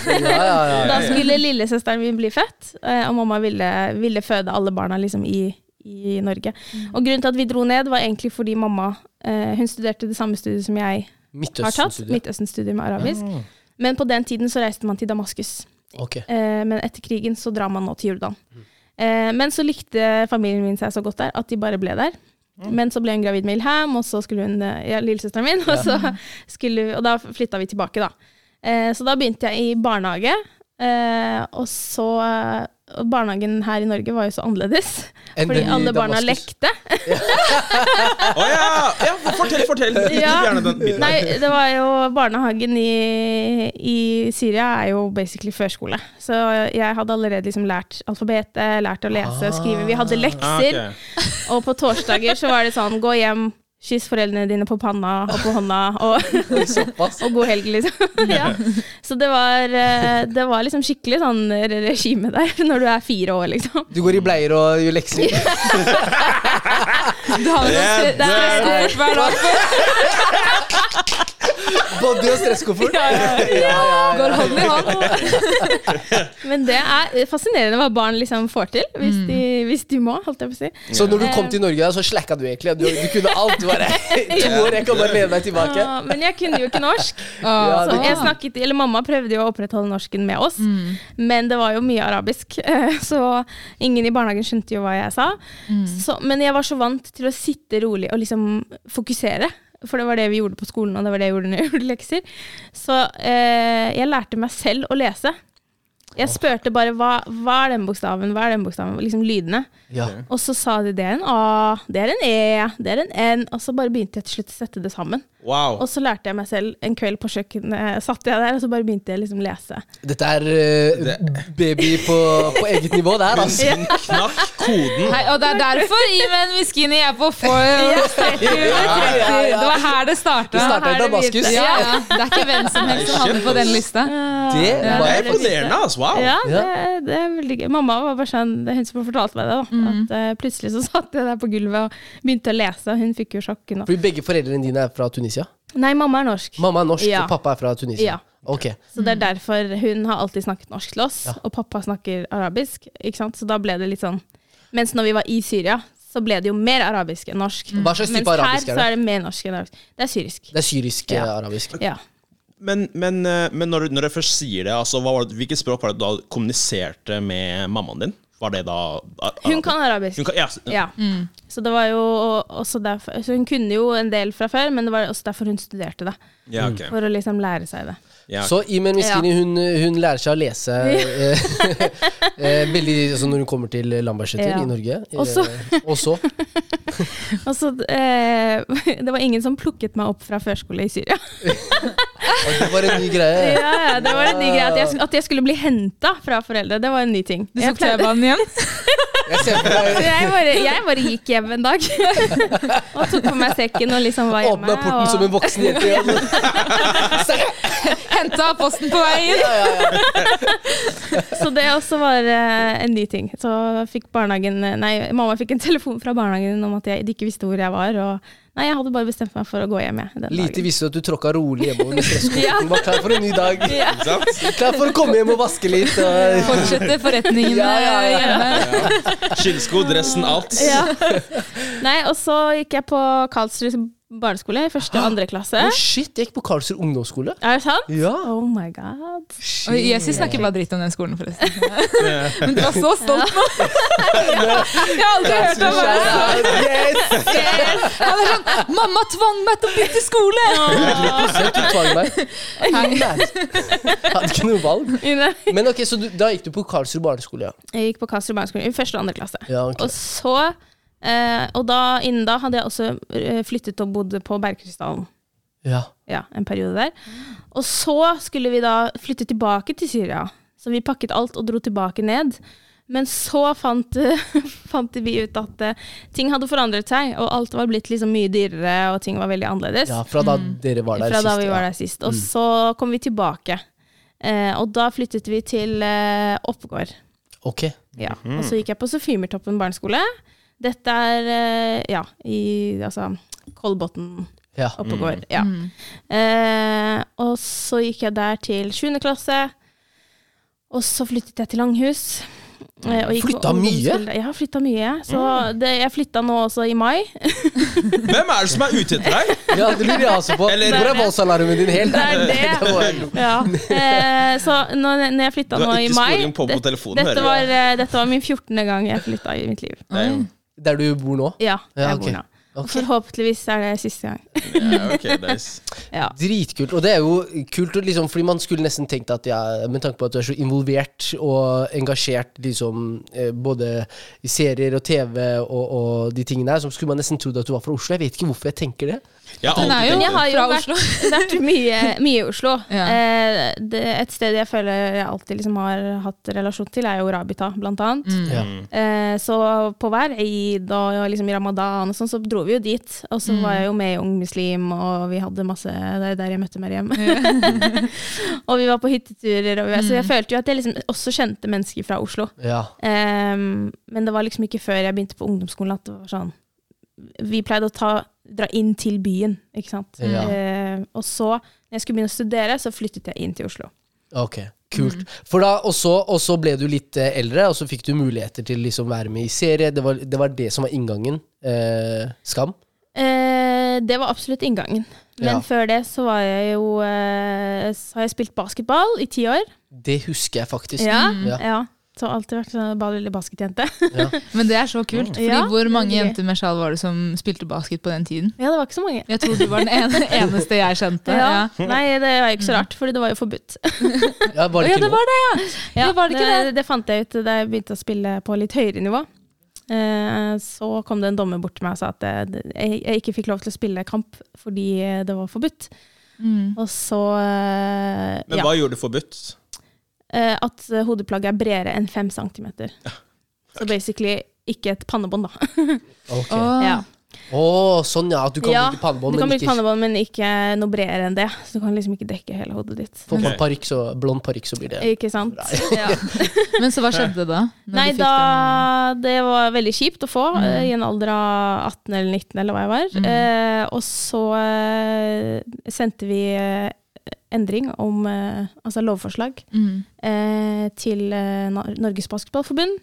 skulle,
Ja, ja, ja.
da skulle lillesøsteren min bli født. eh, Og mamma ville, ville føde alle barna liksom i, i Norge. Og grunnen til at vi dro ned, var egentlig fordi mamma eh, hun studerte det samme studiet som jeg har tatt.
Midtøsten-studiet.
Midtøsten-studiet med arabisk. Men på den tiden så reiste man til Damaskus.
Ok.
Eh, men etter krigen så drar man nå til Jordan.
Mm.
Eh, men så likte familien min seg så godt der at de bare ble der. Men så ble hun gravid med Ilham, og så skulle hun, eh, ja, lillesøsteren min, og, så skulle, og da flytta vi tilbake, da. Eh, så da begynte jeg i barnehage. Eh, og så eh, og Barnehagen her i Norge var jo så annerledes,
Enn
fordi
den i
alle barna
Damaskus?
lekte.
Å ja! ja! Fortell, fortell! Gi
Ja.
Gjerne den biten.
Nei, det var jo Barnehagen i, i Syria er jo basically førskole. Så jeg hadde allerede liksom lært alfabetet, lært å lese og skrive. Vi hadde
Ah,
lekser,
ok.
og på torsdager så var det sånn gå hjem, kyss foreldrene dine på panna og på hånda, og,
Såpass.
og god helg, liksom. Ja. Så det var, eh, det var liksom skikkelig sånn re- regime der når du er fire år, liksom.
Du går i bleier og gjør lekser.
Du har jo
Ja,
stress-
det er-
stresskoffert hver dag.
Body og stresskoffert.
Går hånd i hånd.
Men det er fascinerende hva barn liksom får til, hvis,
Mm.
de, hvis de må, holdt jeg på å si.
Så når du kom til Norge, da, så slacka du egentlig. Du, du kunne alt. Du bare to år, jeg kan bare lene meg tilbake.
Ja, men jeg kunne jo ikke norsk.
Ja,
så
det-
jeg snakket, eller mamma prøvde jo å opprettholde norsken med oss,
Mm.
men det var jo mye arabisk. eh, Så ingen i barnehagen skjønte jo hva jeg sa.
Mm.
Så, men jeg var så vant til å sitte rolig og liksom fokusere. For det var det vi gjorde på skolen, og det var det jeg gjorde når jeg gjorde lekser. Så eh, jeg lærte meg selv å lese. Jeg spurte bare hva, hva er den bokstaven, hva er den bokstaven, liksom lydene.
Ja.
Og så sa de det er en A, det er en E, det er en N. Og så bare begynte jeg til slutt å sette det sammen.
Wow.
Og så lærte jeg meg selv en kveld på kjøkkenet, satt jeg der, og så bare begynte jeg liksom lese.
Dette er eh, baby på, på eget nivå, det her.
Hun
Altså.
knakk koden.
Hei, og det er derfor Imen Miskini er på for Det var her det starta.
Det startet i
Her det
Damaskus.
begynte. Ja, ja. Det er ikke hvem som helst som havner på den lista.
Det
Det
var
er imponerende, altså. Wow.
Eh, Ja, det,
Ja.
det er veldig gøy. Mamma var bare sånn, det er hun som fortalte meg det, da. At eh, plutselig så satt jeg der på gulvet og begynte å lese, og hun fikk jo sjokk. Nå.
Fordi begge foreldrene dine er fra Tunisia?
Nei, mamma er norsk.
Mamma er norsk,
Ja.
og pappa er fra Tunisia?
Ja.
Ok.
Så det er derfor hun har alltid snakket norsk til oss, og pappa snakker arabisk, ikke sant? Så da ble det litt sånn Mens når vi var i Syria, så ble det jo mer arabisk enn norsk.
Hva slags type
Mens her
arabisk er det?
så er det mer norsk enn arabisk. Det er syrisk.
Det er syrisk eh, arabisk.
Ja.
Men, men, eh, men når, du- når jeg først sier det, altså, hva var det, hvilket språk var det du da kommuniserte med mammaen din? Var det da a-
Hun
arabisk?
kan arabisk.
Hun kan, ja, s-
Ja.
Mm.
Så det var jo også derfor så Hun kunne jo en del fra før, men det var også derfor hun studerte det.
ja, ok.
For å liksom lære seg det.
Ja, ok.
Så Imen Miskini hun, hun lærer seg å lese eh, eh, veldig altså når hun kommer til Lambertseter
Ja.
i Norge. Eh,
Og så-
og så
Og så eh, Det var ingen som plukket meg opp fra førskole i Syria.
og Det var en ny greie.
Ja, ja, det var en ny greie at, jeg- at jeg skulle bli henta fra foreldre, det var en ny ting.
Du
Jeg
tok
pleide-
T-banen igjen?
Jeg ser for
Så
meg
jeg bare, jeg bare gikk hjem en dag og tok på meg sekken og liksom var hjemme.
åpna porten
og-
som en voksen jente. igjen.
Henta posten på vei inn?
Så det også var eh, en ny ting. Så fikk barnehagen eh, Nei, mamma fikk en telefon fra barnehagen om at jeg, de ikke visste hvor jeg var. Og, nei, jeg hadde bare bestemt meg for å gå hjem, jeg. Den
Lite
dagen.
visste du at du tråkka rolig hjemover med stresskofferten. Var klar for en ny dag.
Ja.
Ikke sant?
Klar for å komme hjem og vaske litt. eh. Og
Fortsette forretningen eh,
Ja, ja, ja.
hjemme.
Skinnsko, dressen, alt.
Ja. Nei, og så gikk jeg på Karlsrud barneskole i første og andre klasse.
Oh, shit, jeg gikk på Karlsrud ungdomsskole.
Er det sant?
Ja.
Oh my god.
Og Jesus snakker bare dritt om den skolen, forresten. Men du var så stolt nå! Jeg har aldri hørt ham være så
Yes!
Han er sånn 'Mamma tvang meg til å bytte skole!'
Så du tvang meg. Hadde ikke noe valg.
Jeg
Men ok, så du, da gikk du på Karlsrud barneskole, ja.
gikk på Karlsrud barneskole i første og andre klasse.
ja ok.
Og så eh, Og da, innen da hadde jeg også eh, flyttet og bodd på Bergkrystallen.
ja.
ja, en periode der. Og så skulle vi da flytte tilbake til Syria. Så vi pakket alt og dro tilbake ned. Men så fant, fant vi ut at eh, ting hadde forandret seg, og alt var blitt liksom mye dyrere, og ting var veldig annerledes.
ja, fra da dere var der
Mm. fra
sist.
da vi var
ja. Mm.
der sist. Og så kom vi tilbake. Eh, og da flyttet vi til eh, Oppegård.
Ok.
Ja.
Mhm.
Og så gikk jeg på Sofimertoppen barneskole. Dette er eh, ja, i altså Kolbotn
Ja.
Mm.
Oppegård. Ja. Eh, og så gikk jeg der til 7. klasse. Og så flyttet jeg til Langhus. Eh, og gikk på
Flytta mye?
ungdomsskole. Jeg har flytta mye. jeg. Så
Mm.
det, jeg flytta nå også i mai.
Hvem er det som er ute etter deg?
Ja, det lurer jeg også på.
Eller-
Hvor er voldsalarmen din helt?
Det er det.
Det var jeg-
Ja. Eh, så når, når jeg flytta
Du
nå
har
i
ikke
mai
sporing på på
det-
telefonen, hører jeg.
dette, var, eh, dette var min 14. gang jeg flytta i mitt liv.
Det er jo
Der du bor nå?
Ja,
Ja,
jeg
ok.
bor nå. Og
Ok.
forhåpentligvis er det siste gang.
ja, ok, nice.
Ja.
Dritkult. Og det er jo kult, og liksom, fordi man skulle nesten tenkt at jeg, med tanke på at du er så involvert og engasjert liksom, eh, både i serier og TV og, og de tingene der, så skulle man nesten trodd at du var fra Oslo. Jeg vet ikke hvorfor jeg tenker det.
Jeg har
Hun er
alltid
jo
tenkt det.
har jo
fra
vært-
Oslo.
vært mye, mye i Oslo.
Ja.
Eh, det, et sted jeg føler jeg alltid liksom har hatt relasjon til, er jo Rabita, blant annet.
Mm.
Ja.
Eh, så på hver eid og liksom i ramadan og sånn, så dro vi jo dit. Og så
Mm.
var jeg jo med i Ung Muslim, og vi hadde masse Det er der jeg møtte Mariam. og vi var på hytteturer, og vi, så
Mm.
jeg følte jo at jeg liksom også kjente mennesker fra Oslo.
Ja.
Ehm, men det var liksom ikke før jeg begynte på ungdomsskolen at det var sånn Vi pleide å ta, dra inn til byen, ikke sant.
Ja.
Ehm, og så, når jeg skulle begynne å studere, så flyttet jeg inn til Oslo.
Ok, kult. For da, og så, og så ble du litt eh, eldre, og så fikk du muligheter til liksom være med i serie. Det var det, var det som var inngangen. Eh, skam.
Eh, det var absolutt inngangen. Men
Ja.
før det så var jeg jo eh, Så har jeg spilt basketball i ti år.
Det husker jeg faktisk.
Ja.
Mm, Ja.
ja. Så alltid vært sånn ba- lille basketjente.
Men det er så kult. Fordi
Ja,
hvor mange
det er gøy.
jenter med sjal var det som spilte basket på den tiden?
ja, det var ikke så mange.
Jeg tror du var den ene, eneste jeg kjente. Ja.
Nei, det var jo ikke så rart, for det var jo forbudt.
Ja, var det
Ja,
ikke lov?
det var det, ja!
Ja,
Ja, var det ikke det?
fant jeg ut da jeg begynte å spille på litt høyere nivå. Eh, så kom det en dommer bort til meg og sa at eh, jeg, jeg ikke fikk lov til å spille kamp fordi eh, det var forbudt.
Mm.
Og så eh,
Men
ja,
hva gjorde du forbudt?
eh, at eh, hodeplagget er bredere enn fem centimeter. Så basically ikke et pannebånd, da.
Ok. Å,
Åh.
Ja.
sånn ja. At du kan
Ja,
bruke pannebånd,
Du kan
men
bruke
ikke
pannebånd, men ikke noe bredere enn det. Så du kan liksom ikke dekke hele hodet ditt.
Får man
Ok.
parykk, så blond parykk, så blir det
Ikke sant? Ja.
Men så hva skjedde da? når
Nei,
du fikk Mm.
da Det var veldig kjipt å få eh, i en alder av 18 eller 19, eller hva jeg var. Eh, og så eh, sendte vi eh, endring om eh, Altså lovforslag
den? Mm.
eh, til eh, Nor- Norges Basketballforbund.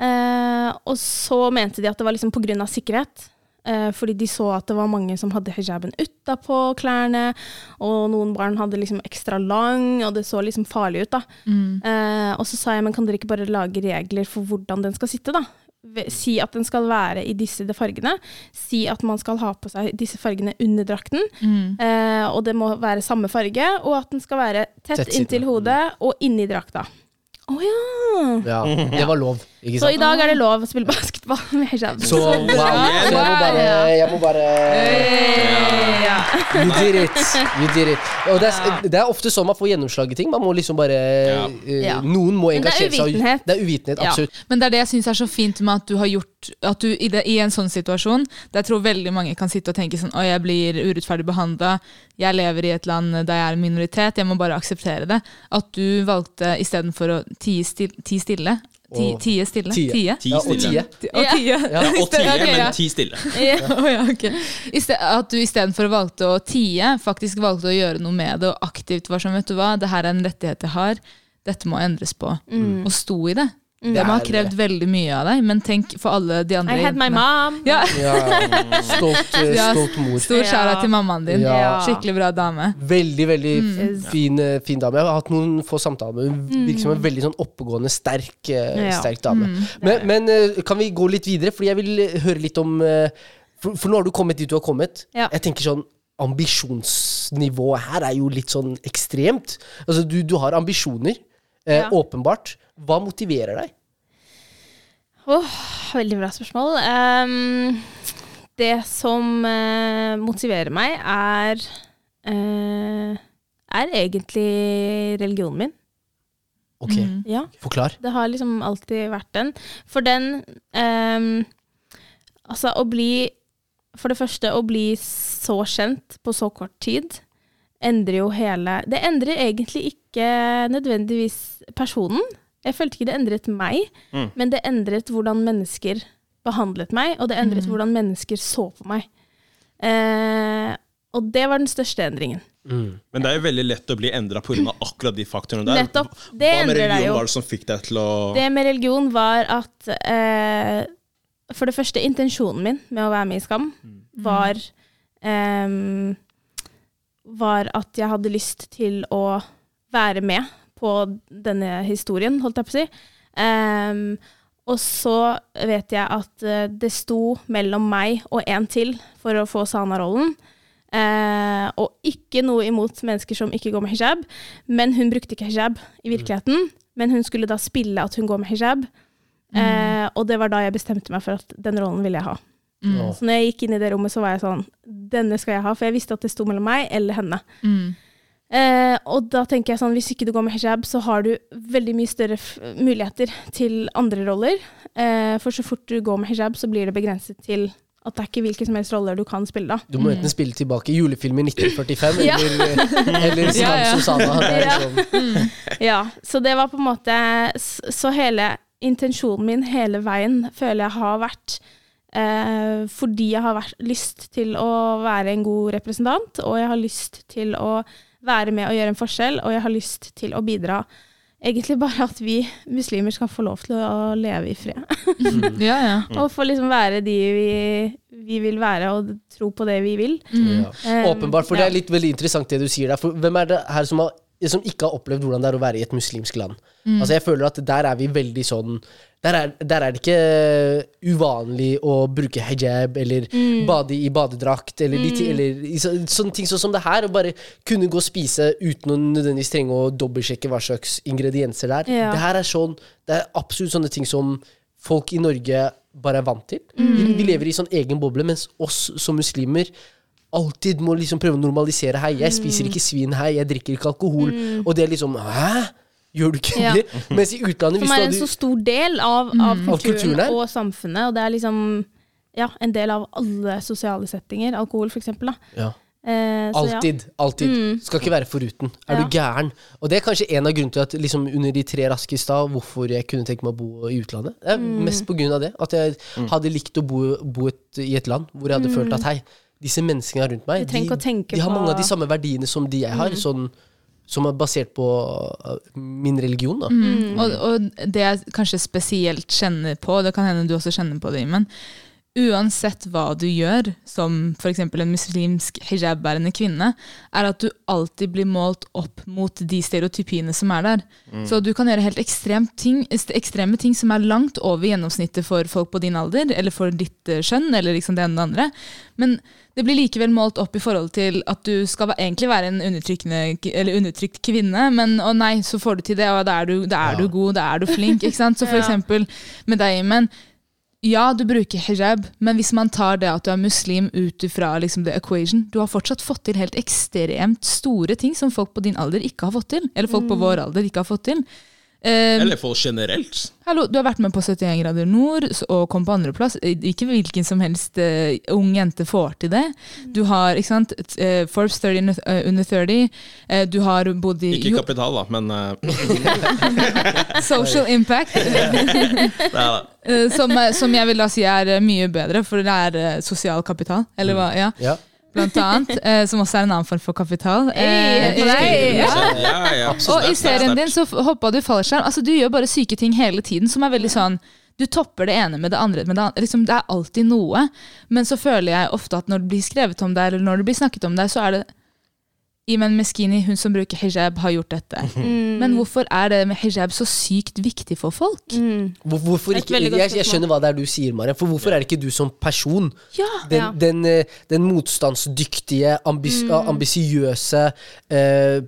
Eh, og så mente de at det var liksom pga. sikkerhet. Eh, fordi de så at det var mange som hadde hijaben utapå klærne. Og noen barn hadde liksom ekstra lang, og det så liksom farlig ut. da. Eh, og så sa jeg men kan dere ikke bare lage regler for hvordan den skal sitte? da? Ve- Si at den skal være i disse fargene. Si at man skal ha på seg disse fargene under drakten. Eh, og det må være samme farge, og at den skal være tett,
Tett siden.
inntil hodet og inni drakta. Å ja!
Ja, det var lov. Ikke
Så i
sant?
dag er det lov å spille basketball med hijab.
Så wow. Så jeg må bare, jeg må bare You did it. You did it. Og det, er, det er ofte sånn man får gjennomslag i ting. Man må liksom bare eh,
Ja.
Noen må
Men det er
engasjere seg.
uvitenhet.
Det er uvitenhet,
Ja.
absolutt.
Men det er det jeg syns er så fint med at du har gjort At du i, det, i en sånn situasjon, der jeg tror veldig mange kan sitte og tenke sånn Å, jeg blir urettferdig behandla, jeg lever i et land der jeg er en minoritet, jeg må bare akseptere det. At du valgte istedenfor å tie stille, tie stille ti,
Og-
Tie stille?
Tie.
Tie?
Ti
Ja, og
stille.
tie.
Ti- Og tie.
Ja, og
Iste-
tie,
ok, ja.
men ti stille.
Å, ja, ok. I sted, at du istedenfor valgte å tie, faktisk valgte å gjøre noe med det og aktivt var sånn, vet du hva, det her er en rettighet jeg har, dette må endres på.
Mm.
Og sto i det. Det må ha
Det er-
krevd veldig mye av deg, men tenk for alle de andre
I had my
jentene.
mom.
Ja,
Ja, stolt, eh,
Ja.
stolt mor.
Stor skjæra til mammaen din.
Ja.
Skikkelig bra dame.
Veldig veldig fin, eh, fin dame. Jeg har hatt noen få samtaler med henne. Hun Virker som en veldig sånn oppegående, sterk, eh,
Mm. Ja. Mm.
sterk dame. Men, men eh, kan vi gå litt videre? Fordi jeg vil eh, høre litt om eh, for, for nå har du kommet dit du har kommet.
Ja.
Jeg tenker sånn Ambisjonsnivået her er jo litt sånn ekstremt. Altså, du, du har ambisjoner, eh,
Ja.
åpenbart. Hva motiverer deg?
Åh, veldig bra spørsmål. Ehm, det som eh, motiverer meg, er eh, er egentlig religionen min.
Ok,
Ja,
forklar.
det har liksom alltid vært den. For den ehm, Altså, å bli For det første, å bli så kjent på så kort tid endrer jo hele Det endrer egentlig ikke nødvendigvis personen. Jeg følte ikke det endret meg,
Mm.
men det endret hvordan mennesker behandlet meg, og det endret hvordan mennesker så på meg. Eh, Og det var den største endringen.
Men det er jo veldig lett å bli endra pga. akkurat de faktorene der.
Nettopp. Det
Hva med
endrer deg
religion
jo.
var det som fikk deg til å
Det med religion var at eh, For det første, intensjonen min med å være med i Skam var eh, Var at jeg hadde lyst til å være med på denne historien, holdt jeg på å si. Eh, og så vet jeg at eh, det sto mellom meg og en til for å få Sana-rollen. Eh, og ikke noe imot mennesker som ikke går med hijab, men hun brukte ikke hijab i virkeligheten. Men hun skulle da spille at hun går med hijab, eh, og det var da jeg bestemte meg for at den rollen ville jeg ha.
Mm.
Mm.
Åh.
Så når jeg gikk inn i det rommet, så var jeg sånn Denne skal jeg ha, for jeg visste at det sto mellom meg eller henne.
Mm.
Eh, og da tenker jeg sånn, hvis ikke du går med hijab, så har du veldig mye større f muligheter til andre roller. Eh, for så fort du går med hijab, så blir det begrenset til at det er ikke hvilke som helst roller du kan spille da.
Du må enten spille tilbake julefilm i 1945
Mm. Ja.
eller, eh, eller Skam
Ja, ja.
som Sana. Det er
Ja.
liksom,
Ja, så det var på en måte s- Så hele intensjonen min hele veien føler jeg har vært eh, fordi jeg har vært, lyst til å være en god representant, og jeg har lyst til å være med og gjøre en forskjell, og jeg har lyst til å bidra. Egentlig bare at vi muslimer skal få lov til å leve i fred.
Ja, ja.
Og få liksom være de vi, vi vil være, og tro på det vi vil.
ja. Åpenbart, for det er litt veldig interessant det du sier der. For hvem er det her som, har, som ikke har opplevd hvordan det er å være i et muslimsk land? Altså Jeg føler at der er vi veldig sånn der er, der er det ikke uvanlig å bruke hijab eller bade i badedrakt eller, de ti- eller i så, sånne ting sånn som det her. Å bare kunne gå og spise uten å nødvendigvis trenge å dobbeltsjekke hva slags ingredienser det er.
Ja.
Det her er sånn Det er absolutt sånne ting som folk i Norge bare er vant til. Vi, vi lever i sånn egen boble, mens oss som muslimer alltid må liksom prøve å normalisere. Hei, jeg
Mm.
spiser ikke svin. Hei, jeg drikker ikke alkohol. Og det er liksom Hæ? Gjør du ikke
Ja.
det? Mens i utlandet
Som
hvis
er
du
en
hadde-
så stor del av, av
Av
kulturen,
kulturen her.
og samfunnet. Og det er liksom ja, en del av alle sosiale settinger. Alkohol, for eksempel. Da.
ja.
Eh, så ja. Mm.
Alltid. alltid Skal ikke være foruten. Er
Ja.
du gæren? Og det er kanskje en av grunnene til at liksom, under de tre raske i stad, hvorfor jeg kunne tenke meg å bo i utlandet. Det er
Mm.
mest på grunn av det. At jeg hadde likt å bo, bo et, i et land hvor jeg hadde følt at hei, disse menneskene rundt meg,
Mm. Du trenger ikke å
de,
tenke
de har
på- Mm.
mange av de samme verdiene som de jeg har, sånn, som er basert på uh, min religion. Da.
Mm.
Og, og det jeg kanskje spesielt kjenner på, det kan hende du også kjenner på det, men uansett hva du gjør, som f.eks. en muslimsk hijabbærende kvinne, er at du alltid blir målt opp mot de stereotypiene som er der. Så du kan gjøre helt ekstremt ting, ekstreme ting som er langt over gjennomsnittet for folk på din alder, eller for ditt eh, skjønn, eller liksom det ene og det andre. Men det blir likevel målt opp i forhold til at du skal va- egentlig være en undertrykkende k- eller undertrykt kvinne, men å nei, så får du til det, og da er du, da er du god, da er du flink. ikke sant? Så for
Ja.
eksempel med deg, Imen. Ja, du bruker hijab, men hvis man tar det at du er muslim ut ifra liksom, the equation Du har fortsatt fått til helt ekstremt store ting som folk på din alder ikke har fått til. Eller folk på vår alder ikke har fått til. Eh,
Mm. Eller folk generelt.
Hallo, du har vært med på 71 grader nord s- og kom på andreplass. Eh, Ikke hvilken som helst eh, ung jente får til det.
Mm.
Du har ikke sant, t- eh, Forbes 30 under, eh, under 30. eh, du har bodd i
Ikke
jo,
kapital, da, men eh,
Social Impact,
det er det.
eh, som, eh, som jeg vil da si er eh, mye bedre, for det er eh, sosial kapital.
Mm.
Eller hva, ja.
Ja,
Blant annet, eh, som også er en annen form for kapital.
Hey,
Eh,
på deg!
ja.
Ja, ja.
Og i
Sterkt, sterkt,
serien
sterkt.
din så f- hoppa du fallskjerm. Altså, du gjør bare syke ting hele tiden som er veldig sånn Du topper det ene med det andre. Med det, andre. Liksom, det er alltid noe. Men så føler jeg ofte at når det blir skrevet om deg, eller når det blir snakket om deg, så er det Imen Meskini, hun som bruker hijab, har gjort dette. Men hvorfor er det med hijab så sykt viktig for folk?
Hvor, hvorfor
Et
ikke?
veldig
Jeg,
godt
jeg skjønner hva det er du sier, Mariam. For hvorfor er det ikke du som person
Ja,
den,
ja.
den, eh, den motstandsdyktige, ambis
Mm.
ah, ambisiøse eh,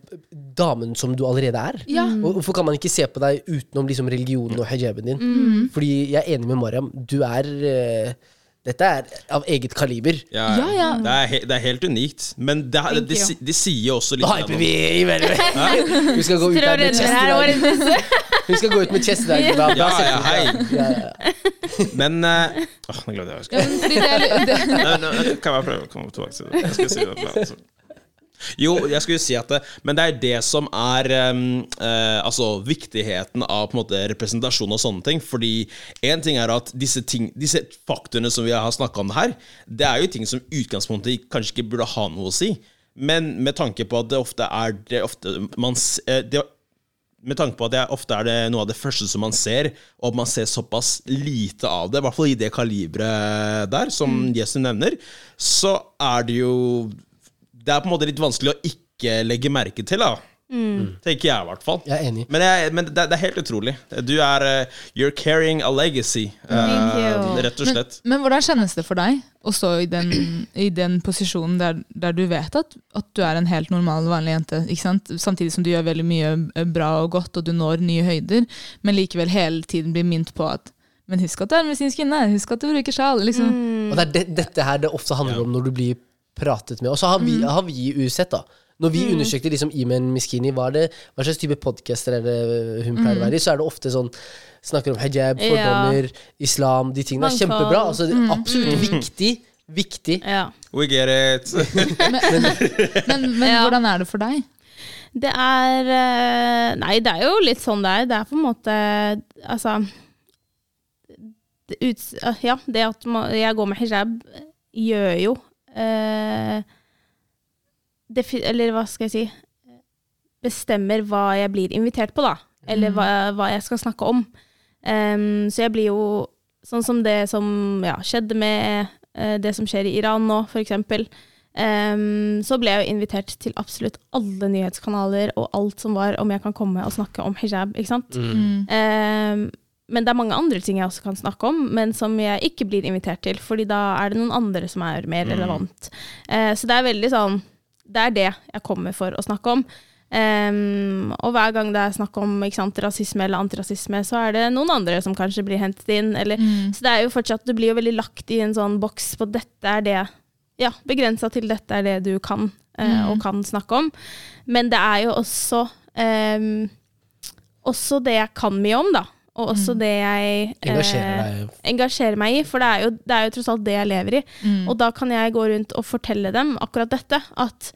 damen som du allerede er.
Ja.
Og Hvorfor kan man ikke se på deg utenom liksom, religionen og hijaben din?
Mm.
Fordi jeg er enig med Mariam. Du er eh, Dette er av eget kaliber.
Ja,
Ja, ja.
Det, er he det er helt unikt. Men det, er-
Thank
de,
you.
si- de sier jo også litt
Nå hyper vi i verden! Vi skal gå ut
Tror
der
dere
med
det
chest i
her var
dag.
en-
Vi skal gå ut med chest i dag. Bra, bra
Ja, ja,
setning.
hei.
Ja, ja, ja.
Men eh, åh, Nå glemte jeg hva jeg skulle
Fordi det er, det,
Nei, nei, Kan jeg prøve å komme tilbake til det? Jeg skal si det. på- altså. Jo, jeg skulle si at det Men det er det som er ehm, eh, Altså viktigheten av på en måte representasjon og sånne ting. Fordi én ting er at disse, ting, disse faktorene som vi har snakka om her, det er jo ting som i utgangspunktet kanskje ikke burde ha noe å si. Men med tanke på at det ofte er det ofte man s- eh, det, med tanke på at jeg ofte er det noe av det første som man ser, og at man ser såpass lite av det, i hvert fall i det kaliberet der, som
Mm.
Jesu nevner, så er det jo Det er på en måte litt vanskelig å ikke legge merke til, da.
Mm.
Tenker jeg, i hvert fall.
Jeg er enig.
Men, jeg, men det, det er helt utrolig. Du er eh, You're carrying a legacy, eh,
Thank you.
rett og slett.
Men, men hvordan kjennes det for deg å stå i den, i den posisjonen der, der du vet at, at du er en helt normal, vanlig jente, ikke sant? samtidig som du gjør veldig mye eh, bra og godt, og du når nye høyder, men likevel hele tiden blir minnet på at men husk at du er en medisinsk kvinne, husk at du bruker sjal. Liksom.
Og det er det, dette her det ofte handler om når du blir pratet med. Og så har vi,
Mm.
har vi i UZ, da. Når vi undersøkte liksom Imen Miskini, hva, er det, hva slags type podcaster er det hun pleier å være i, så er det ofte sånn Snakker om hijab,
Mm. Ja.
fordommer, islam, de tingene. er
Mangfold. Mm. Eh.
Kjempebra. Altså, det er absolutt viktig. Viktig.
Ja.
We get it.
Men, men
Ja.
hvordan er det for deg?
Det er eh, Nei, det er jo litt sånn det er. Det er på en måte Altså det, ut, Ja, det at ma- jeg går med hijab, gjør jo eh, defi, Eller hva skal jeg si Bestemmer hva jeg blir invitert på, da. Eller hva, hva jeg skal snakke om. Em, så jeg blir jo sånn som det som ja, skjedde med eh, det som skjer i Iran nå, for eksempel. Ehm, så ble jeg jo invitert til absolutt alle nyhetskanaler og alt som var om jeg kan komme og snakke om hijab. ikke sant? Ehm, men det er mange andre ting jeg også kan snakke om, men som jeg ikke blir invitert til, fordi da er det noen andre som er mer relevant. Eh, så det er veldig sånn Det er det jeg kommer for å snakke om. Ehm, og hver gang det er snakk om ikke sant, rasisme eller antirasisme, så er det noen andre som kanskje blir hentet inn. Eller, Så det er jo fortsatt, du blir jo veldig lagt i en sånn boks på dette er det ja, Begrensa til dette er det du kan eh, og kan snakke om. Men det er jo også ehm, også det jeg kan mye om, da. Og også det jeg
Engasjerer
eh,
deg.
engasjerer meg i, for det er, jo, det er jo tross alt det jeg lever i. Og da kan jeg gå rundt og fortelle dem akkurat dette, at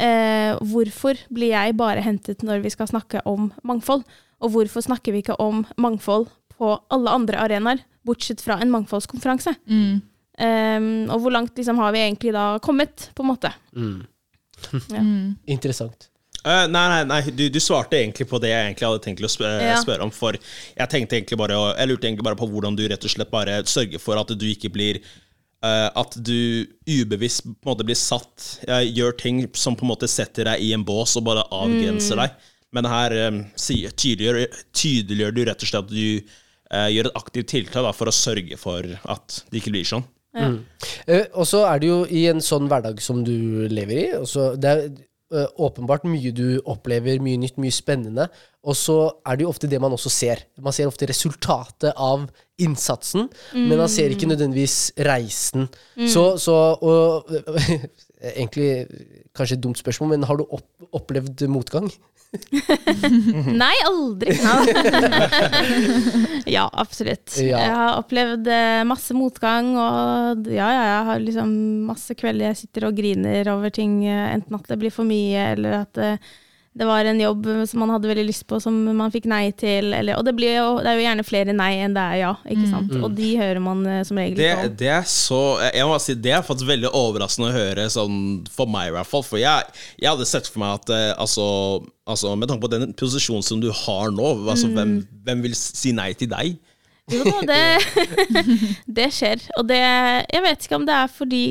eh, hvorfor blir jeg bare hentet når vi skal snakke om mangfold? Og hvorfor snakker vi ikke om mangfold på alle andre arenaer, bortsett fra en mangfoldskonferanse? Ehm, og hvor langt liksom, har vi egentlig da kommet, på en måte?
Interessant.
Eh, nei, nei, nei du, du svarte egentlig på det jeg egentlig hadde tenkt å sp eh,
Ja.
spørre om. For jeg tenkte egentlig bare å- Jeg lurte egentlig bare på hvordan du rett og slett bare sørger for at du ikke blir eh, At du ubevisst på en måte blir satt eh, Gjør ting som på en måte setter deg i en bås og bare avgrenser deg. Men her eh, sier- tydeliggjør, tydeliggjør du rett og slett at du eh, gjør et aktivt tiltak da, for å sørge for at det ikke blir sånn.
Eh, og så er det jo i en sånn hverdag som du lever i. og så det er eh, åpenbart mye du opplever, mye nytt, mye spennende. Og så er det jo ofte det man også ser. Man ser ofte resultatet av innsatsen, men man ser ikke nødvendigvis reisen. Så, så og, Egentlig kanskje et dumt spørsmål, men har du opp, opplevd motgang?
Nei, aldri. ja, absolutt.
Ja.
Jeg har opplevd eh, masse motgang, og ja, ja, jeg har liksom masse kvelder jeg sitter og griner over ting, eh, enten at det blir for mye, eller at eh, det var en jobb eh, som man hadde veldig lyst på, som man fikk nei til. Eller, og det, blir jo, det er jo gjerne flere nei enn det er ja, ikke sant? Og de hører man eh, som regel
Det,
ikke om.
det er så Jeg må bare si Det er faktisk veldig overraskende å høre, sånn, for meg i hvert fall. For jeg, jeg hadde sett for meg at eh, altså, altså, Med tanke på den posisjonen som du har nå, altså, hvem,
Mm.
hvem vil si nei til deg?
Jo da, det, det skjer. Og det Jeg vet ikke om det er fordi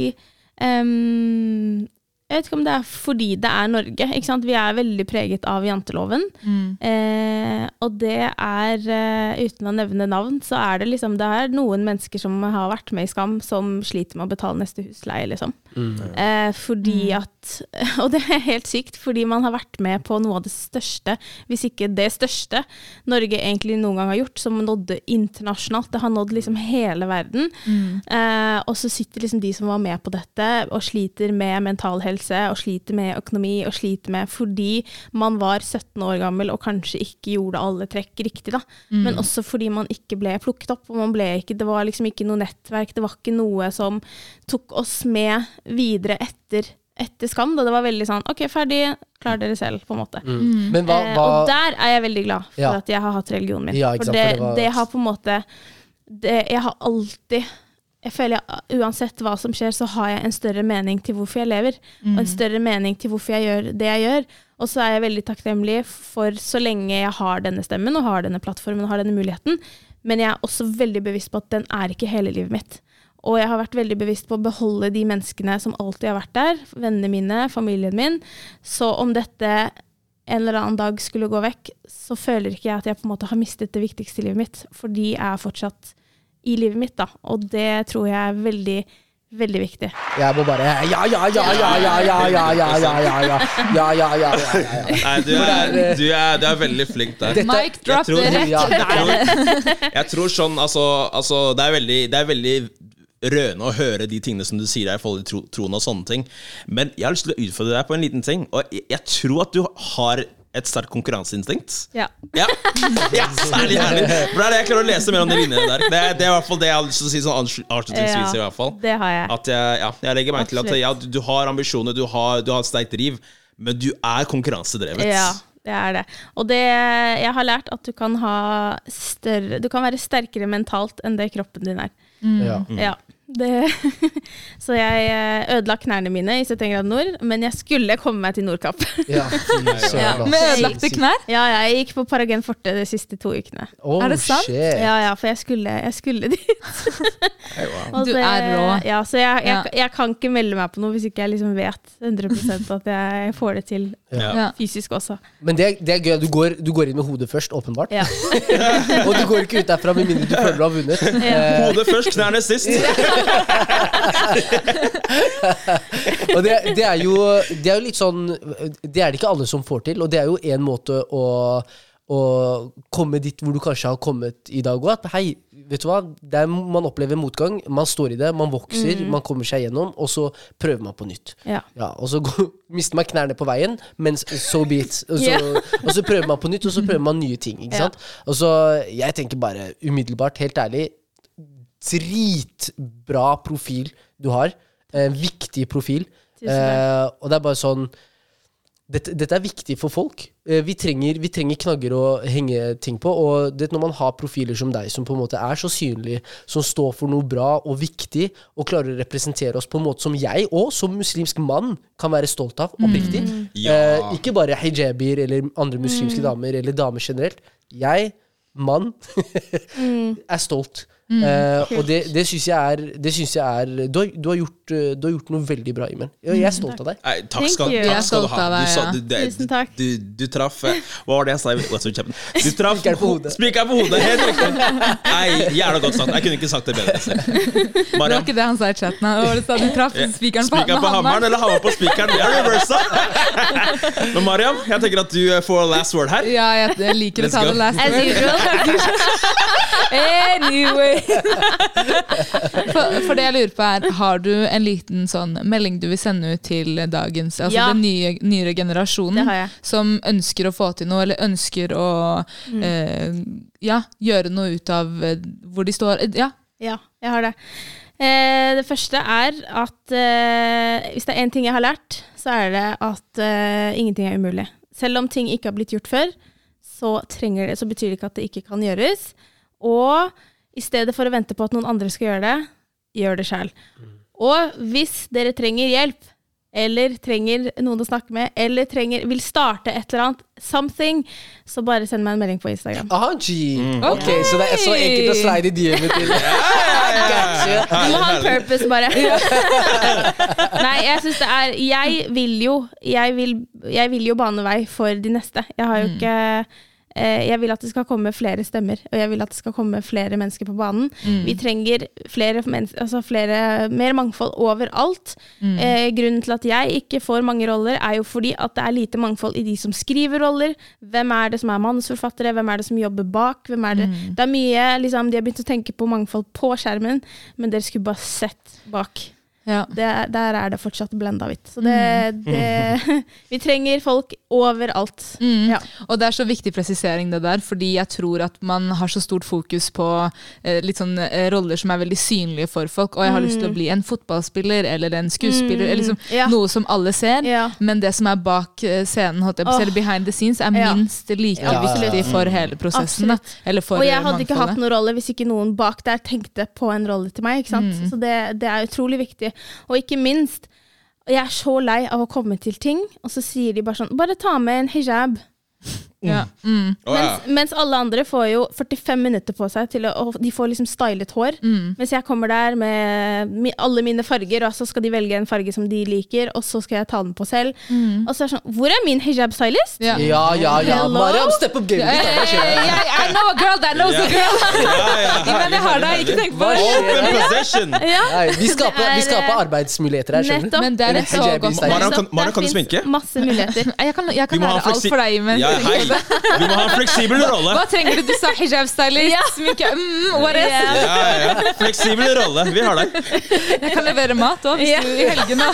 ehm, Jeg vet ikke om det er fordi det er Norge. Ikke sant? Vi er veldig preget av janteloven. Eh, og det er eh, Uten å nevne navn, så er det liksom Det er noen mennesker som har vært med i Skam, som sliter med å betale neste husleie, liksom. Eh, fordi at Og det er helt sykt, fordi man har vært med på noe av det største, hvis ikke det største, Norge egentlig noen gang har gjort, som nådde internasjonalt. Det har nådd liksom hele verden. Eh, og så sitter liksom de som var med på dette, og sliter med mental helse, og sliter med økonomi, og sliter med fordi man var 17 år gammel og kanskje ikke gjorde alle trekk riktig, da. Men også fordi man ikke ble plukket opp, og man ble ikke Det var liksom ikke noe nettverk, det var ikke noe som tok oss med videre etter etter Skam, da det var veldig sånn OK, ferdig, klar dere selv, på en måte.
Men hva,
Eh,
hva
og der er jeg veldig glad for
Ja.
at jeg har hatt religionen min.
Ja, ikke
for
sant,
det,
for det var-
det har på en måte det, Jeg har alltid jeg føler jeg, Uansett hva som skjer, så har jeg en større mening til hvorfor jeg lever. Og en større mening til hvorfor jeg gjør det jeg gjør. Og så er jeg veldig takknemlig for så lenge jeg har denne stemmen og har denne plattformen og har denne muligheten. Men jeg er også veldig bevisst på at den er ikke hele livet mitt. Og jeg har vært veldig bevisst på å beholde de menneskene som alltid har vært der. Vennene mine, familien min. Så om dette en eller annen dag skulle gå vekk, så føler ikke jeg at jeg på en måte har mistet det viktigste i livet mitt, for de er fortsatt i livet mitt, da. Og det tror jeg er veldig, veldig viktig.
Jeg må bare Ja, ja, ja, ja, ja, ja, ja, ja, ja, ja, ja, ja, ja, ja, ja, ja, ja.
Nei, du er, du er, du er veldig flink der.
Dette-
Mic drop
tror-
det er
Ja,
rett.
Jeg tror, jeg tror sånn, altså, altså det, er veldig, det er veldig rørende å høre de tingene som du sier her i forhold til tro, troen og sånne ting. Men jeg har lyst til å utfordre deg på en liten ting. Og jeg, jeg tror at du har et sterkt konkurranseinstinkt.
Ja.
Ja, ja særlig herlig. For det er det jeg klarer å lese mer om de linjene der. Det, er- det er i hvert fall det jeg har lyst til å si sånn avslut- avslutningsvis. i hvert fall
Det har jeg.
At jeg, ja, jeg legger meg til at
Absolutt.
ja, du, du har ambisjoner, du har, du har et sterkt driv, men du er konkurransedrevet.
Ja, det er det. Og det jeg har lært, at du kan ha større Du kan være sterkere mentalt enn det kroppen din er.
ja.
Ja. Det, så jeg eh, ødela knærne mine i 71 grader nord, men jeg skulle komme meg til Nordkapp.
Ja, fy
Ja,
søren,
Med
ass.
ødelagte knær.
Ja, jeg gikk på Paragon Forte de siste to ukene.
Oh,
Er det sant?
shit.
Ja, ja, for jeg skulle, jeg skulle dit. Og
Du
det-
er rå.
Ja, så jeg, jeg,
Ja.
jeg kan ikke melde meg på noe hvis ikke jeg liksom vet 100 at jeg får det til
Ja.
Ja.
fysisk også.
Men det, det er gøy. Du går, du går inn med hodet først, åpenbart.
Ja.
Og du går ikke ut derfra med mindre du føler du har vunnet. Eh,
Hodet først, knærne sist.
og det, det, er jo, det er jo litt sånn Det er det ikke alle som får til, og det er jo én måte å, å komme dit hvor du kanskje har kommet i dag òg. At hei, vet du hva, der man opplever motgang, man står i det, man vokser,
Mm.
man kommer seg gjennom, og så prøver man på nytt.
Ja.
Ja, og så går- mister man knærne på veien, men so be it. Og så,
Ja.
og så prøver man på nytt, og så prøver man nye ting. Ikke
Ja.
sant? Og så, jeg tenker bare umiddelbart, helt ærlig, dritbra profil du har. Eh, viktig profil.
Tusen
Eh, og det er bare sånn dette, dette er viktig for folk. Eh, Vi trenger, vi trenger knagger å henge ting på. Og det, når man har profiler som deg, som på en måte er så synlige, som står for noe bra og viktig, og klarer å representere oss på en måte som jeg og som muslimsk mann kan være stolt av, oppriktig
Ja.
eh, Ikke bare hijabier eller andre muslimske damer, eller damer generelt. Jeg, mann, er stolt. Eh, og det, det syns jeg er, det synes jeg er du, har, du, har gjort, eh, du har gjort noe veldig bra, Imen. Jeg jeg er stolt av deg.
Nei, takk skal,
Thank you.
Jeg
takk
er
skal du
stolt
ha.
av
Du,
deg,
sa,
ja.
du, det-
Tusen takk.
Du, du traff eh, Hva var det jeg sa? i What's Up Chapman? Du traff
Spikeren på hodet.
Spikeren på hodet, Helt riktig. Nei, jævla godt sagt. Jeg kunne ikke sagt det bedre selv.
Det
Mariam,
var ikke det han sa i chatten. Det var det sa, du traff spikeren på,
Spikeren på hammeren eller hammeren på spikeren? Vi er reversa. Men Mariam, jeg tenker at du eh, får last word her.
Ja, jeg, jeg liker å
Let's
ta
go.
det last
As
word.
usual.
Anyway. For, for det jeg lurer på er, har du en liten sånn melding du vil sende ut til dagens, altså
Ja.
den nye, nyere generasjonen,
Det har jeg.
som ønsker å få til noe, eller ønsker å
Mm.
eh, ja, gjøre noe ut av eh, hvor de står? Eh, Ja,
Ja, jeg har det. Eh, det første er at eh, hvis det er én ting jeg har lært, så er det at eh, ingenting er umulig. Selv om ting ikke har blitt gjort før, så, trenger det, så betyr det ikke at det ikke kan gjøres. Og i stedet for å vente på at noen andre skal gjøre det, gjør det sjøl. Og hvis dere trenger hjelp, eller trenger noen å snakke med, eller trenger, vil starte et eller annet, something, så bare send meg en melding på Instagram.
Aha, G. Ok,
Ok.
så det er så enkelt å slide i DM-et til. Gotcha.
Du må ha en
Herlig, herlig.
purpose, bare. Nei, jeg syns det er Jeg vil jo jeg vil, jeg vil jo bane vei for de neste. Jeg har jo ikke eh, Jeg vil at det skal komme flere stemmer, og jeg vil at det skal komme flere mennesker på banen. Vi trenger flere mennesker, altså flere, mer mangfold overalt. Eh, grunnen til at jeg ikke får mange roller, er jo fordi at det er lite mangfold i de som skriver roller. Hvem er det som er manusforfattere, hvem er det som jobber bak? Hvem er det? det er mye liksom, De har begynt å tenke på mangfold på skjermen, men dere skulle bare sett bak.
Ja.
Det, er- der er det fortsatt blenda hvitt. Så det, det Vi trenger folk overalt. Ja.
Og det er så viktig presisering det der, fordi jeg tror at man har så stort fokus på eh, litt sånn eh, roller som er veldig synlige for folk. Og jeg har lyst til å bli en fotballspiller eller en skuespiller, eller liksom
Mm. Ja.
noe som alle ser.
Ja.
Men det som er bak eh, scenen, holdt jeg på, å si,
Åh.
eller behind the scenes, er
Ja.
minst like
Ja,
viktig
absolutt.
for hele prosessen. Da, eller for
Og jeg
eh,
hadde ikke hatt
mangfoldet.
noen rolle hvis ikke noen bak der tenkte på en rolle til meg. ikke
Mm.
sant? Så det, det er utrolig viktig. Og ikke minst, jeg er så lei av å komme til ting, og så sier de bare sånn Bare ta med en hijab.
Ja. Mm.
Å, ja.
Mens, mens alle andre får jo 45 minutter på seg til å og De får liksom stylet hår.
Mm.
Mens jeg kommer der med mi, alle mine farger, og så skal de velge en farge som de liker, og så skal jeg ta den på selv.
Mm.
Og så er det sånn Hvor er min hijab-stylist?
Ja.
Ja, ja, ja.
Hello?
Mariam, step up gamet ditt. da. Hva skjer?
Hey, I, I know a girl that knows a girl!
Ja, ja,
Men jeg har deg, ikke tenk på det!
Open possession!
Nei, vi,
Så det
skaper, vi
er,
skaper
eh,
arbeidsmuligheter her, skjønner du.
Nettopp.
Men det er et så
Hijabi
godt
style.
Mariam, kan-
Så
Mariam, kan du
der finnes
sminke?
Masse muligheter.
Jeg kan, jeg
Vi
kan
må ha
lære alt
en fleksi-
for deg, men
ja, hei. Vi må ha en fleksibel rolle.
Hva trenger du? Du sa hijab-stylist, sminke mm, What else?
Ja.
Ja, ja. Fleksibel rolle. Vi har deg.
Jeg kan levere mat òg, hvis
Ja.
du i helgene.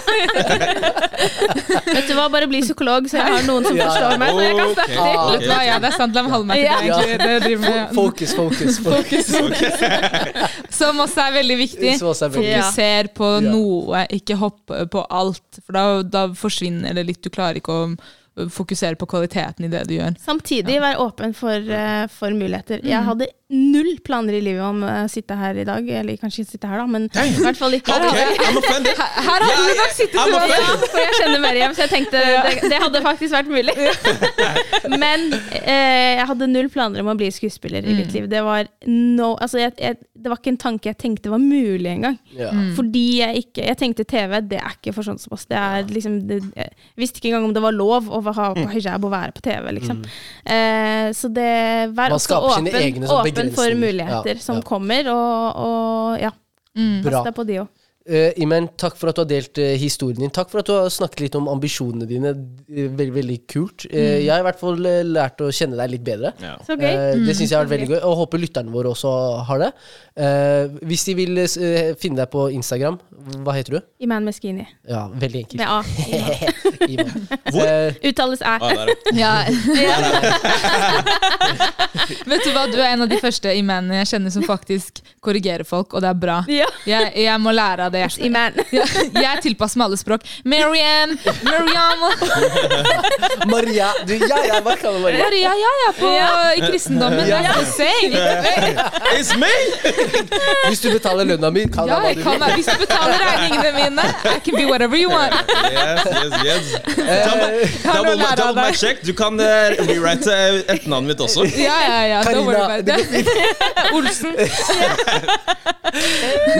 Vet du hva, bare bli psykolog, så jeg har noen som
Ja.
forstår meg. Så jeg kan
Ok,
snakke.
Ah,
ok.
Nå, ja, det er sant, la meg holde meg til
Ja.
det. egentlig. det jeg driver med.
Fokus, fokus. fokus.
Som også er veldig viktig.
Som også er veldig
viktig.
Fokuser på
Ja.
noe, ikke hopp på alt. For da, da forsvinner det litt. Du klarer ikke å øh, fokusere på kvaliteten i det du gjør.
Samtidig være åpen for, eh, for muligheter. Jeg hadde null planer i livet om eh, å sitte her i dag, eller kanskje ikke sitte her, da, men i hvert fall ikke.
Ok, I'm offended.
Her har du nok sittet
I'm
og
offended.
For jeg kjenner Mariam, så jeg tenkte det, det hadde faktisk vært mulig. Men eh, jeg hadde null planer om å bli skuespiller i mitt liv. Det var, no, altså jeg, jeg, det var ikke en tanke jeg tenkte var mulig engang.
Ja.
Fordi jeg ikke Jeg tenkte TV, det er ikke for sånn som oss. Det er liksom det, Jeg visste ikke engang om det var lov å ha
Mm.
på hijab og være på TV, liksom. Eh, så det Vær
Man
også
skaper
åpen,
sine egne sånne
åpen for
begrensninger.
muligheter
Ja,
som
ja.
kommer, og, og ja.
Bra.
Pass deg på de òg.
Eh, Imen, takk for at du har delt eh, historien din. Takk for at du har snakket litt om ambisjonene dine. Eh, Veldig, veldig kult. Eh, Jeg har i hvert fall eh, lært å kjenne deg litt bedre.
Ja.
Mm. Så gøy.
Eh, Det syns jeg har vært veldig gøy, og håper lytterne våre også har det. Eh, hvis de vil eh, finne deg på Instagram, hva heter du?
Iman Meskini.
Ja, veldig enkelt.
Med A.
Iman.
Hvor?
Eh,
Uttales æ.
Ah, der, ja.
Ja. Vet du hva, du er en av de første i mennene jeg kjenner som faktisk korrigerer folk, og det er bra.
Ja.
Jeg, jeg må lære av det. Jeg,
Iman.
jeg tilpasser meg alle språk. Mariam, Mariam
Maria! Du, ja, jeg bare kaller Maria.
Maria, ja, ja, på, i kristendommen. That's the same.
It's me!
Hvis du betaler lønna mi, kall
Ja,
deg hva du vil.
jeg kan meg. Hvis du betaler regningene mine, I can be whatever you want.
Yes, yes, yes.
Eh,
Double,
Har du
double,
lært av
double my
deg?
check. Du kan eh, rewrite eh, etternavnet mitt også.
Ja, ja, ja. Don't worry
Karina,
about it. Olsen.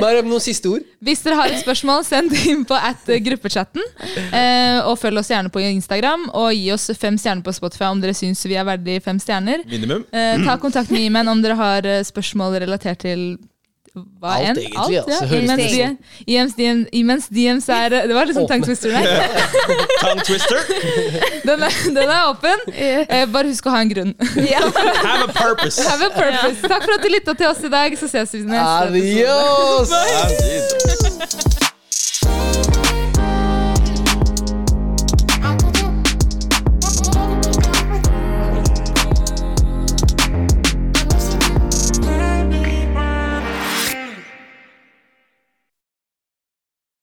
Mariam, noen siste ord?
Hvis dere har et spørsmål, send det inn på at eh, gruppechatten. Eh, og følg oss gjerne på Instagram, og gi oss fem stjerner på Spotify om dere syns vi er verdig fem stjerner.
Minimum.
Eh, ta kontakt med Imen om dere har eh, spørsmål relatert til hva
Alt,
enn.
egentlig, altså, høres
Imens,
det sånn.
DM, imens, DM, imens DMs er eh, Det var litt sånn
Åpne.
tongue twister der.
Tongue twister.
Den er, den er åpen. Eh, bare husk å ha en grunn.
Have a purpose.
Have a purpose. Takk for at du lytta til oss i dag, så ses vi neste episode.
Adios!
Ah, Jesus.